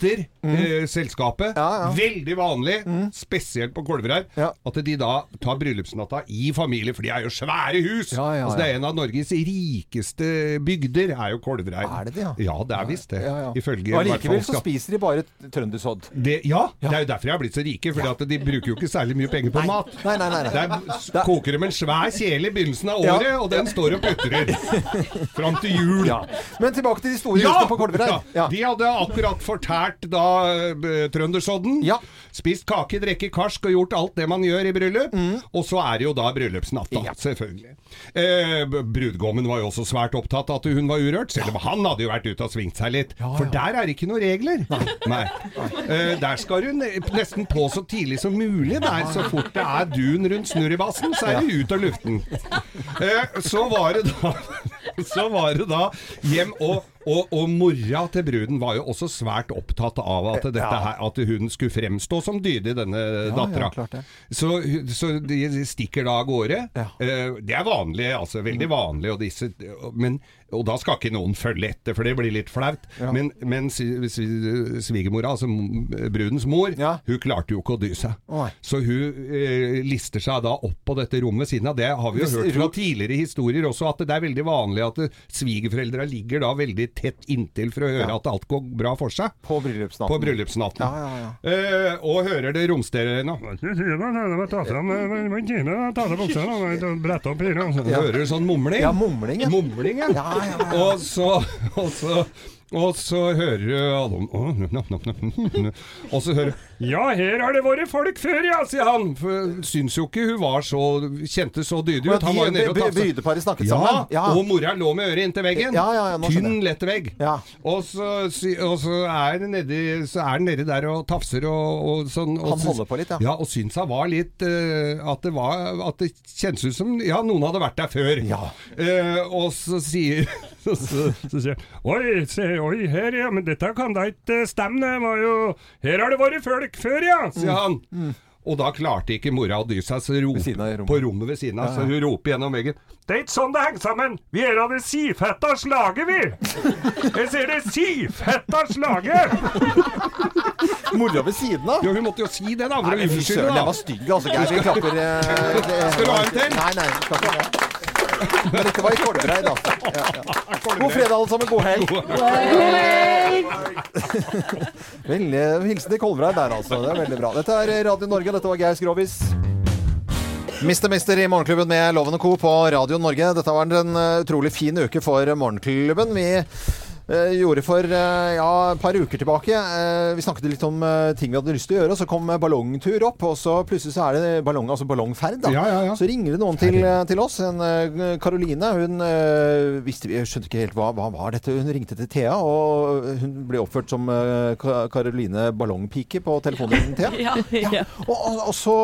Speaker 4: etter eh, selskapet.
Speaker 3: Mm. Ja, ja.
Speaker 4: Veldig vanlig, spesielt på Kolvereid,
Speaker 3: Ja.
Speaker 4: at de da tar bryllupsnatta i familie, for de er jo svære hus!
Speaker 3: Ja, ja,
Speaker 4: altså, det
Speaker 3: ja.
Speaker 4: er en av Norges rikeste bygder, er jo Kolvereid.
Speaker 3: Er det det, ja?
Speaker 4: Ja, det er visst det.
Speaker 3: Ja, ja. Og
Speaker 4: Ifølge i hvert
Speaker 3: allikevel
Speaker 4: fall
Speaker 3: så
Speaker 4: skatt-
Speaker 3: spiser de bare trøndersodd.
Speaker 4: det, ja, det er jo derfor jeg har blitt så rike, for at de bruker jo ikke særlig mye penger på mat.
Speaker 3: Nei, nei, nei. nei.
Speaker 4: Der s- koker de en svær kjele i begynnelsen av året,
Speaker 3: Ja.
Speaker 4: og den står og putrer fram til jul.
Speaker 3: Ja. Men tilbake til de store
Speaker 4: Ja!
Speaker 3: husene på Kolvereid. Ja.
Speaker 4: Ja. De hadde akkurat fortært da eh, Trøndersodden.
Speaker 3: Ja.
Speaker 4: Spist kake, drikke karsk og gjort alt det man gjør i bryllup. Og så er det jo da bryllupsnatta,
Speaker 3: Mm. Ja.
Speaker 4: selvfølgelig. Eh, b- brudgommen var jo også svært opptatt av at hun var urørt, selv om han hadde jo vært ute og svingt seg litt. For der er det ikke noen regler. Nei. Eh, der skal hun eh, nesten på så tidlig som mulig. Der, så fort det er dun rundt snurrebassen, så er det ut av luften. Eh, så var det da Så var det da hjem og og, og mora til bruden var jo også svært opptatt av at, dette her, at hun skulle fremstå som dydig, denne dattera.
Speaker 3: klart det.
Speaker 4: så, hun- så de stikker da av gårde.
Speaker 3: Ja. Mm.
Speaker 4: Eh, Det er vanlig, altså. Veldig vanlig. Og, disse, men, og da skal ikke noen følge etter, for det blir litt flaut. Men, men si- si- svigermora, altså m- brudens mor,
Speaker 3: Ja.
Speaker 4: hun klarte jo ikke å dy seg.
Speaker 3: Nei.
Speaker 4: Så hun eh, lister seg da opp på dette rommet ved siden av. Det har vi jo
Speaker 3: Hvis-
Speaker 4: hørt fra tidligere historier også, at det er veldig vanlig at eh, svigerforeldra ligger da veldig tett inntil for å høre at alt går bra for seg.
Speaker 3: På bryllupsnatten.
Speaker 4: På bryllupsnatten.
Speaker 3: Ja, ja, ja.
Speaker 4: Eh, og hører det romstere nå. Hører du sånn mumling?
Speaker 3: Ja, mumling, ja.
Speaker 4: sånn Mumling, ja.
Speaker 3: Ja, ja, ja.
Speaker 4: Og så, og så Og så hører du alle om «Åh, nå, nå, nå». Og så hører du Ja, her har det vært folk før, ja, sier han. For syns jo ikke hun var så Kjente så dydig ut. Han var jo nede og
Speaker 3: by- by-
Speaker 4: tafsa.
Speaker 3: Bryteparet snakket
Speaker 4: Ja,
Speaker 3: sammen. Ja.
Speaker 4: og mora lå med øret inntil veggen.
Speaker 3: Ja, ja, ja, nå skjønner
Speaker 4: Tynn, lett vegg.
Speaker 3: Ja.
Speaker 4: Og, så, sy- og så er den nedi så er den nedi der og tafser og, og sånn. Og
Speaker 3: Han
Speaker 4: syns-
Speaker 3: holder på litt, ja.
Speaker 4: ja. Og syns han var litt eh, at, det var, at det kjennes ut som Ja, noen hadde vært der før.
Speaker 3: Ja.
Speaker 4: Eh, og så sier så, så, så sier han, Oi, se, oi, her, ja, men dette kan da ikke stemme. Det var jo Her har det vært folk før, ja, sier
Speaker 3: Mm.
Speaker 4: han. Og da klarte ikke mora å dy seg, så rop,
Speaker 3: siden av rommet.
Speaker 4: på rommet ved siden av, så hun roper gjennom veggen. Det er ikke sånn det henger sammen! Vi er av det sifetta slaget, vi! Jeg sier det sifetta slaget!
Speaker 3: Mora ved siden av.
Speaker 4: Ja, hun måtte jo si det, da. For å
Speaker 3: Nei, fy
Speaker 4: unnskylde,
Speaker 3: søren, jeg
Speaker 4: da.
Speaker 3: var stygg, altså. Geir, vi klapper eh, det-
Speaker 4: Skal du ha en til?
Speaker 3: Nei, nei. vi Skal ikke ha det. Men dette var i Kolvereid, altså. Ja, ja. God fredag, alle sammen. God helg. Veldig hilsen til Kolvereid der, altså. Det er veldig bra. Dette er Radio Norge, dette var Geir Skrovis. Mister Mister i Morgenklubben med Loven og Co. på Radio Norge. Dette var en eh, utrolig fin uke for Morgenklubben. Vi eh, gjorde for eh, ja, et par uker tilbake eh, Vi snakket litt om eh, ting vi hadde lyst til å gjøre, og så kom eh, ballongtur opp. Og så plutselig så er det ballong, altså ballongferd. Da.
Speaker 4: Ja, ja, ja.
Speaker 3: Så ringer det noen til, eh, til oss. En eh, Karoline. Hun eh, visste, jeg skjønte ikke helt hva, hva var dette. Hun ringte til Thea, og hun ble oppført som eh, Ka- Karoline Ballongpike på telefonen til Thea.
Speaker 2: Ja.
Speaker 3: Og, og, og så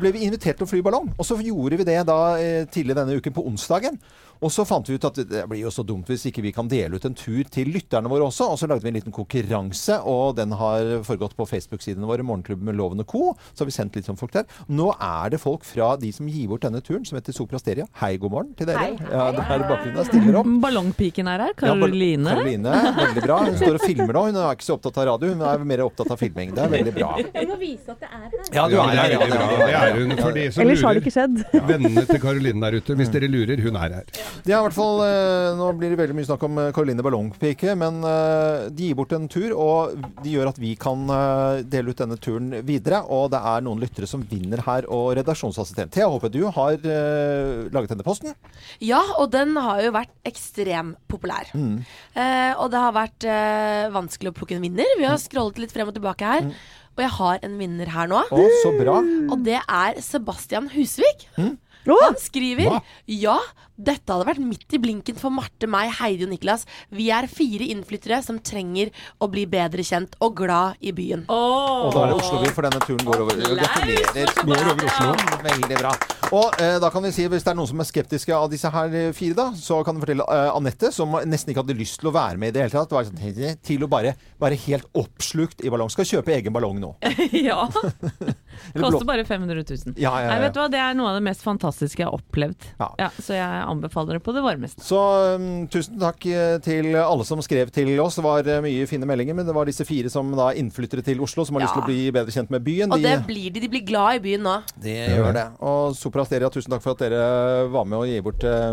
Speaker 3: ble vi invitert til å fly ballong. Og så gjorde vi det da eh, tidlig denne uken på onsdagen. Og så fant vi ut at det blir jo så dumt hvis ikke vi kan dele ut en tur til lytterne våre også. Og så lagde vi en liten konkurranse, og den har foregått på Facebook-sidene våre. Morgenklubben med Loven og Co. Så har vi sendt litt sånn folk der. Nå er det folk fra de som gir bort denne turen, som heter Soprasteria. Hei, god morgen til dere.
Speaker 8: Hei.
Speaker 3: Ja, det er bakgrunnen. Jeg stiller opp.
Speaker 2: Ballongpiken er her.
Speaker 3: Ja, Bar-
Speaker 2: Karoline.
Speaker 3: Karoline, veldig bra. Hun står og filmer nå. Hun er ikke så opptatt av radio, hun er mer opptatt av filming. Det er veldig bra.
Speaker 8: Jeg må vise at jeg er her.
Speaker 3: Ja,
Speaker 4: Ja, det er veldig bra. Det er hun for de som
Speaker 5: Ellers har det
Speaker 4: lurer.
Speaker 5: ikke skjedd.
Speaker 4: Vennene til Karoline der ute, hvis dere lurer, hun er her.
Speaker 3: Det er i hvert fall, eh, Nå blir det veldig mye snakk om eh, Karoline Ballongpike, men eh, de gir bort en tur, og de gjør at vi kan eh, dele ut denne turen videre. Og det er noen lyttere som vinner her, og redaksjonsassistent Thea håper du har eh, laget denne posten.
Speaker 1: Ja, og den har jo vært ekstremt populær.
Speaker 3: Mm.
Speaker 1: Eh, og det har vært eh, vanskelig å plukke en vinner. Vi har
Speaker 3: Mm.
Speaker 1: scrollet litt frem og tilbake her. Og jeg har en vinner her nå.
Speaker 3: Å, så bra.
Speaker 1: Og det er Sebastian Husvik.
Speaker 5: Å,
Speaker 1: Han skriver
Speaker 4: Hva?
Speaker 1: Ja, dette hadde vært midt i blinken for Marte, meg, Heidi og Niklas. Vi er fire innflyttere som trenger å bli bedre kjent og glad i byen.
Speaker 3: Og da er det Oslo by, for denne turen går over. Gratulerer.
Speaker 4: Går over Oslo.
Speaker 3: Veldig bra. Og eh, da kan vi si, hvis det er noen som er skeptiske av disse her eh, fire, da, så kan vi fortelle eh, Anette, som nesten ikke hadde lyst til å være med i det hele tatt, var sånn, «Hei, til å bare være helt oppslukt i ballong. Skal kjøpe egen ballong nå.
Speaker 2: ja.
Speaker 3: Eller blå-
Speaker 2: Koster bare 500 000.
Speaker 3: Ja, ja, ja.
Speaker 2: Nei, vet du hva? Det er noe av det mest fantastiske jeg har opplevd.
Speaker 3: Ja.
Speaker 2: Ja, så jeg anbefaler det på det varmeste.
Speaker 3: Så um, tusen takk eh, til alle som skrev til oss. Det var eh, mye fine meldinger, men det var disse fire som da innflyttere til Oslo som har lyst til å bli bedre kjent med byen.
Speaker 1: Og det blir de. De blir glad i byen nå.
Speaker 3: de gjør det. Og Sopra Steria, tusen takk for at dere var med og gir bort eh,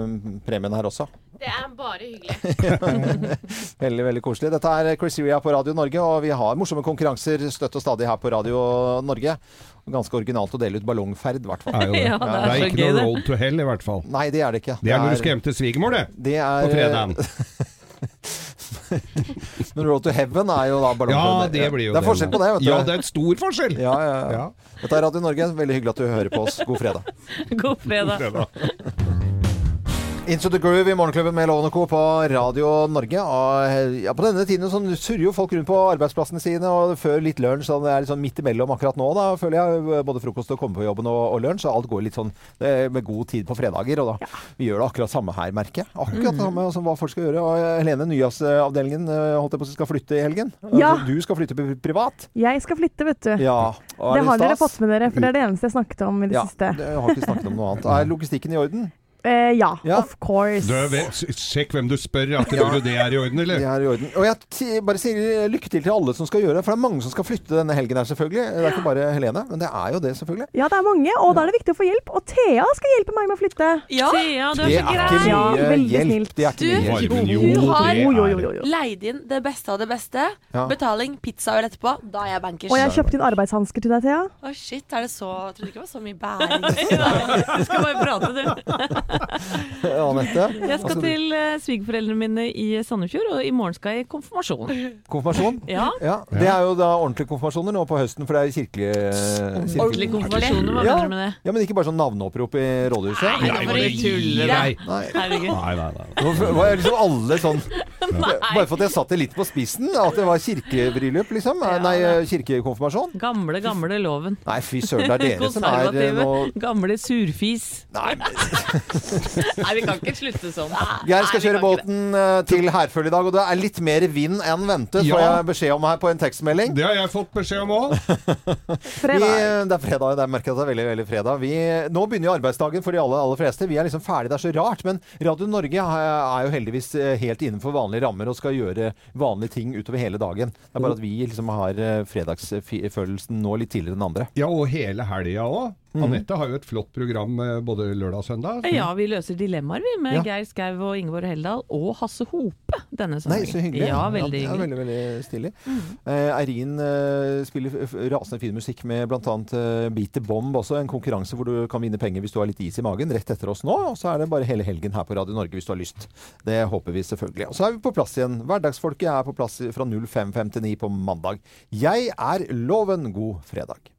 Speaker 3: premien her også.
Speaker 9: Det er bare hyggelig.
Speaker 3: Veldig, veldig koselig. Dette er Chris Ria på Radio Norge, og vi har morsomme konkurranser støtt og stadig her på Radio Norge. Ganske originalt å dele ut ballongferd, i hvert fall.
Speaker 4: Er jo det.
Speaker 2: Ja,
Speaker 4: det
Speaker 2: det er
Speaker 4: er
Speaker 2: så
Speaker 4: ikke
Speaker 2: gøy,
Speaker 4: noe
Speaker 2: det.
Speaker 4: road to hell, i hvert fall.
Speaker 3: Nei, det er det ikke.
Speaker 4: Det er når du skal hjem til svigermor, det.
Speaker 3: det er,
Speaker 4: På fredagen.
Speaker 3: Men Road to Heaven er jo da
Speaker 4: Ja,
Speaker 3: ballongferd.
Speaker 4: det blir jo
Speaker 3: det er forskjell på det, vet du.
Speaker 4: Ja, det er et stor forskjell.
Speaker 3: ja, ja, ja.
Speaker 4: Ja.
Speaker 3: Dette er Radio Norge. Veldig hyggelig at du hører på oss. God fredag.
Speaker 2: God fredag.
Speaker 3: Into the groove i Morgenklubben med Loven og Co. på Radio Norge. Og ja, på denne tiden sånn, surrer jo folk rundt på arbeidsplassene sine, og før litt lunsj. Sånn, det er litt sånn midt imellom akkurat nå, da, føler jeg. eh, Både frokost og komme på jobben og, og lunsj. Og alt går litt sånn eh, med god tid på fredager. Og da vi gjør det akkurat samme her, merker jeg. Akkurat
Speaker 5: Mm.
Speaker 3: det samme som hva folk skal gjøre. Og eh, Helene, nyhetsavdelingen eh, holdt jeg på å si skal flytte i helgen.
Speaker 5: Ja.
Speaker 3: Altså, Du skal flytte pri- privat.
Speaker 5: jeg skal flytte, vet du.
Speaker 3: Ja. og er
Speaker 5: Det har dere
Speaker 3: stas?
Speaker 5: fått med dere, for det er det eneste jeg snakket om i det
Speaker 3: Ja,
Speaker 5: siste.
Speaker 3: det- jeg har ikke snakket om noe annet. Er logistikken i orden?
Speaker 5: Eh, ja,
Speaker 3: Ja.
Speaker 5: of course.
Speaker 4: Du, vet- sjekk hvem du spør, at tror du det er i orden,
Speaker 3: Det
Speaker 4: eller?
Speaker 3: er i orden. Og jeg t bare sier lykke til til alle som skal gjøre det, for det er mange som skal flytte denne helgen her, selvfølgelig. Det er ikke bare Helene, men det er jo det, selvfølgelig.
Speaker 5: Ja, det er mange, og da er det viktig å få hjelp. Og Thea skal hjelpe meg med å flytte.
Speaker 1: Ja,
Speaker 2: Thea, du
Speaker 3: det
Speaker 2: er så
Speaker 3: er
Speaker 2: grei.
Speaker 3: ikke
Speaker 5: Ja,
Speaker 3: mye
Speaker 5: veldig
Speaker 3: hjelp.
Speaker 5: snilt.
Speaker 3: Det er ikke
Speaker 1: Du-
Speaker 3: mye hjelp.
Speaker 4: Arven, jo,
Speaker 1: Du har-
Speaker 4: det
Speaker 5: Jo, jo,
Speaker 4: er
Speaker 5: jo,
Speaker 4: det.
Speaker 5: jo.
Speaker 1: Leid inn det beste av det beste.
Speaker 3: Ja.
Speaker 1: Betaling, pizza øl etterpå. Da er jeg bankers.
Speaker 5: Og
Speaker 1: Å,
Speaker 5: jeg har kjøpt inn arbeidshansker til deg, Thea.
Speaker 1: shit, er det så Jeg trodde ikke det var så mye bæring.
Speaker 2: Du skal bare prate, du.
Speaker 3: Anette.
Speaker 2: Jeg skal
Speaker 3: Altså,
Speaker 2: til eh, svigerforeldrene mine i Sandefjord, og i morgen skal jeg i konfirmasjon.
Speaker 3: Konfirmasjon?
Speaker 2: Ja.
Speaker 3: Ja, Det er jo da ordentlige konfirmasjoner nå på høsten, for det er kirkelige
Speaker 2: Ordentlig
Speaker 3: kirkelige-
Speaker 2: konfirmasjon, hva
Speaker 3: Ja.
Speaker 2: mener du med det?
Speaker 3: Ja, men ikke bare sånn navneopprop i rådhuset.
Speaker 2: Nei, nå må du tulle deg.
Speaker 3: Nei.
Speaker 2: Herregud.
Speaker 4: Nei, nei, nei.
Speaker 3: Hvorfor var liksom alle sånn Bare for at jeg satte det litt på spissen, at det var kirkebryllup, liksom.
Speaker 2: Ja,
Speaker 3: Nei,
Speaker 2: det-
Speaker 3: kirkekonfirmasjon.
Speaker 2: Gamle, gamle loven.
Speaker 3: Nei, fy søren, det er dere som er eh,
Speaker 2: Konservative.
Speaker 3: nå
Speaker 2: Gamle surfis.
Speaker 3: Nei, men
Speaker 2: Nei, vi kan ikke slutte sånn.
Speaker 3: Geir skal kjøre båten eh, til Herføl i dag, og det er litt mer vind enn ventet, får
Speaker 4: Ja.
Speaker 3: jeg beskjed om her på en tekstmelding.
Speaker 4: Det har jeg fått beskjed om òg.
Speaker 3: Vi, eh,
Speaker 5: Fredag.
Speaker 3: det er fredag. Det er merket at det er veldig, veldig fredag. Vi, nå begynner jo arbeidsdagen for de aller, aller fleste. Vi er liksom ferdig, det er så rart. Men Radio Norge eh, er jo heldigvis eh, helt innenfor vanlige rammer og skal gjøre vanlige ting utover hele dagen. Det er bare at vi liksom har eh, fredagsfølelsen nå litt tidligere enn andre.
Speaker 4: Ja, og hele helga òg. Anette har jo et flott program eh, både lørdag og søndag.
Speaker 2: Mm. Ja, vi løser dilemmaer vi med
Speaker 3: Ja.
Speaker 2: Geir Skau og Ingeborg Heldal og Hasse Hope denne
Speaker 3: Nei,
Speaker 2: søndagen.
Speaker 3: så hyggelig.
Speaker 2: Ja, veldig
Speaker 3: Ja, det er
Speaker 2: hyggelig. Mm.
Speaker 3: veldig, veldig stilig. Eh, Eirin eh, spiller f- f- rasende fin musikk med bl.a. Uh, Beat the Bomb også. En konkurranse hvor du kan vinne penger hvis du har litt is i magen rett etter oss nå. Og så er det bare hele helgen her på Radio Norge hvis du har lyst. Det håper vi selvfølgelig. Og så er vi på plass igjen. Hverdagsfolket er på plass fra 05.59 på mandag. Jeg er Loven. God fredag.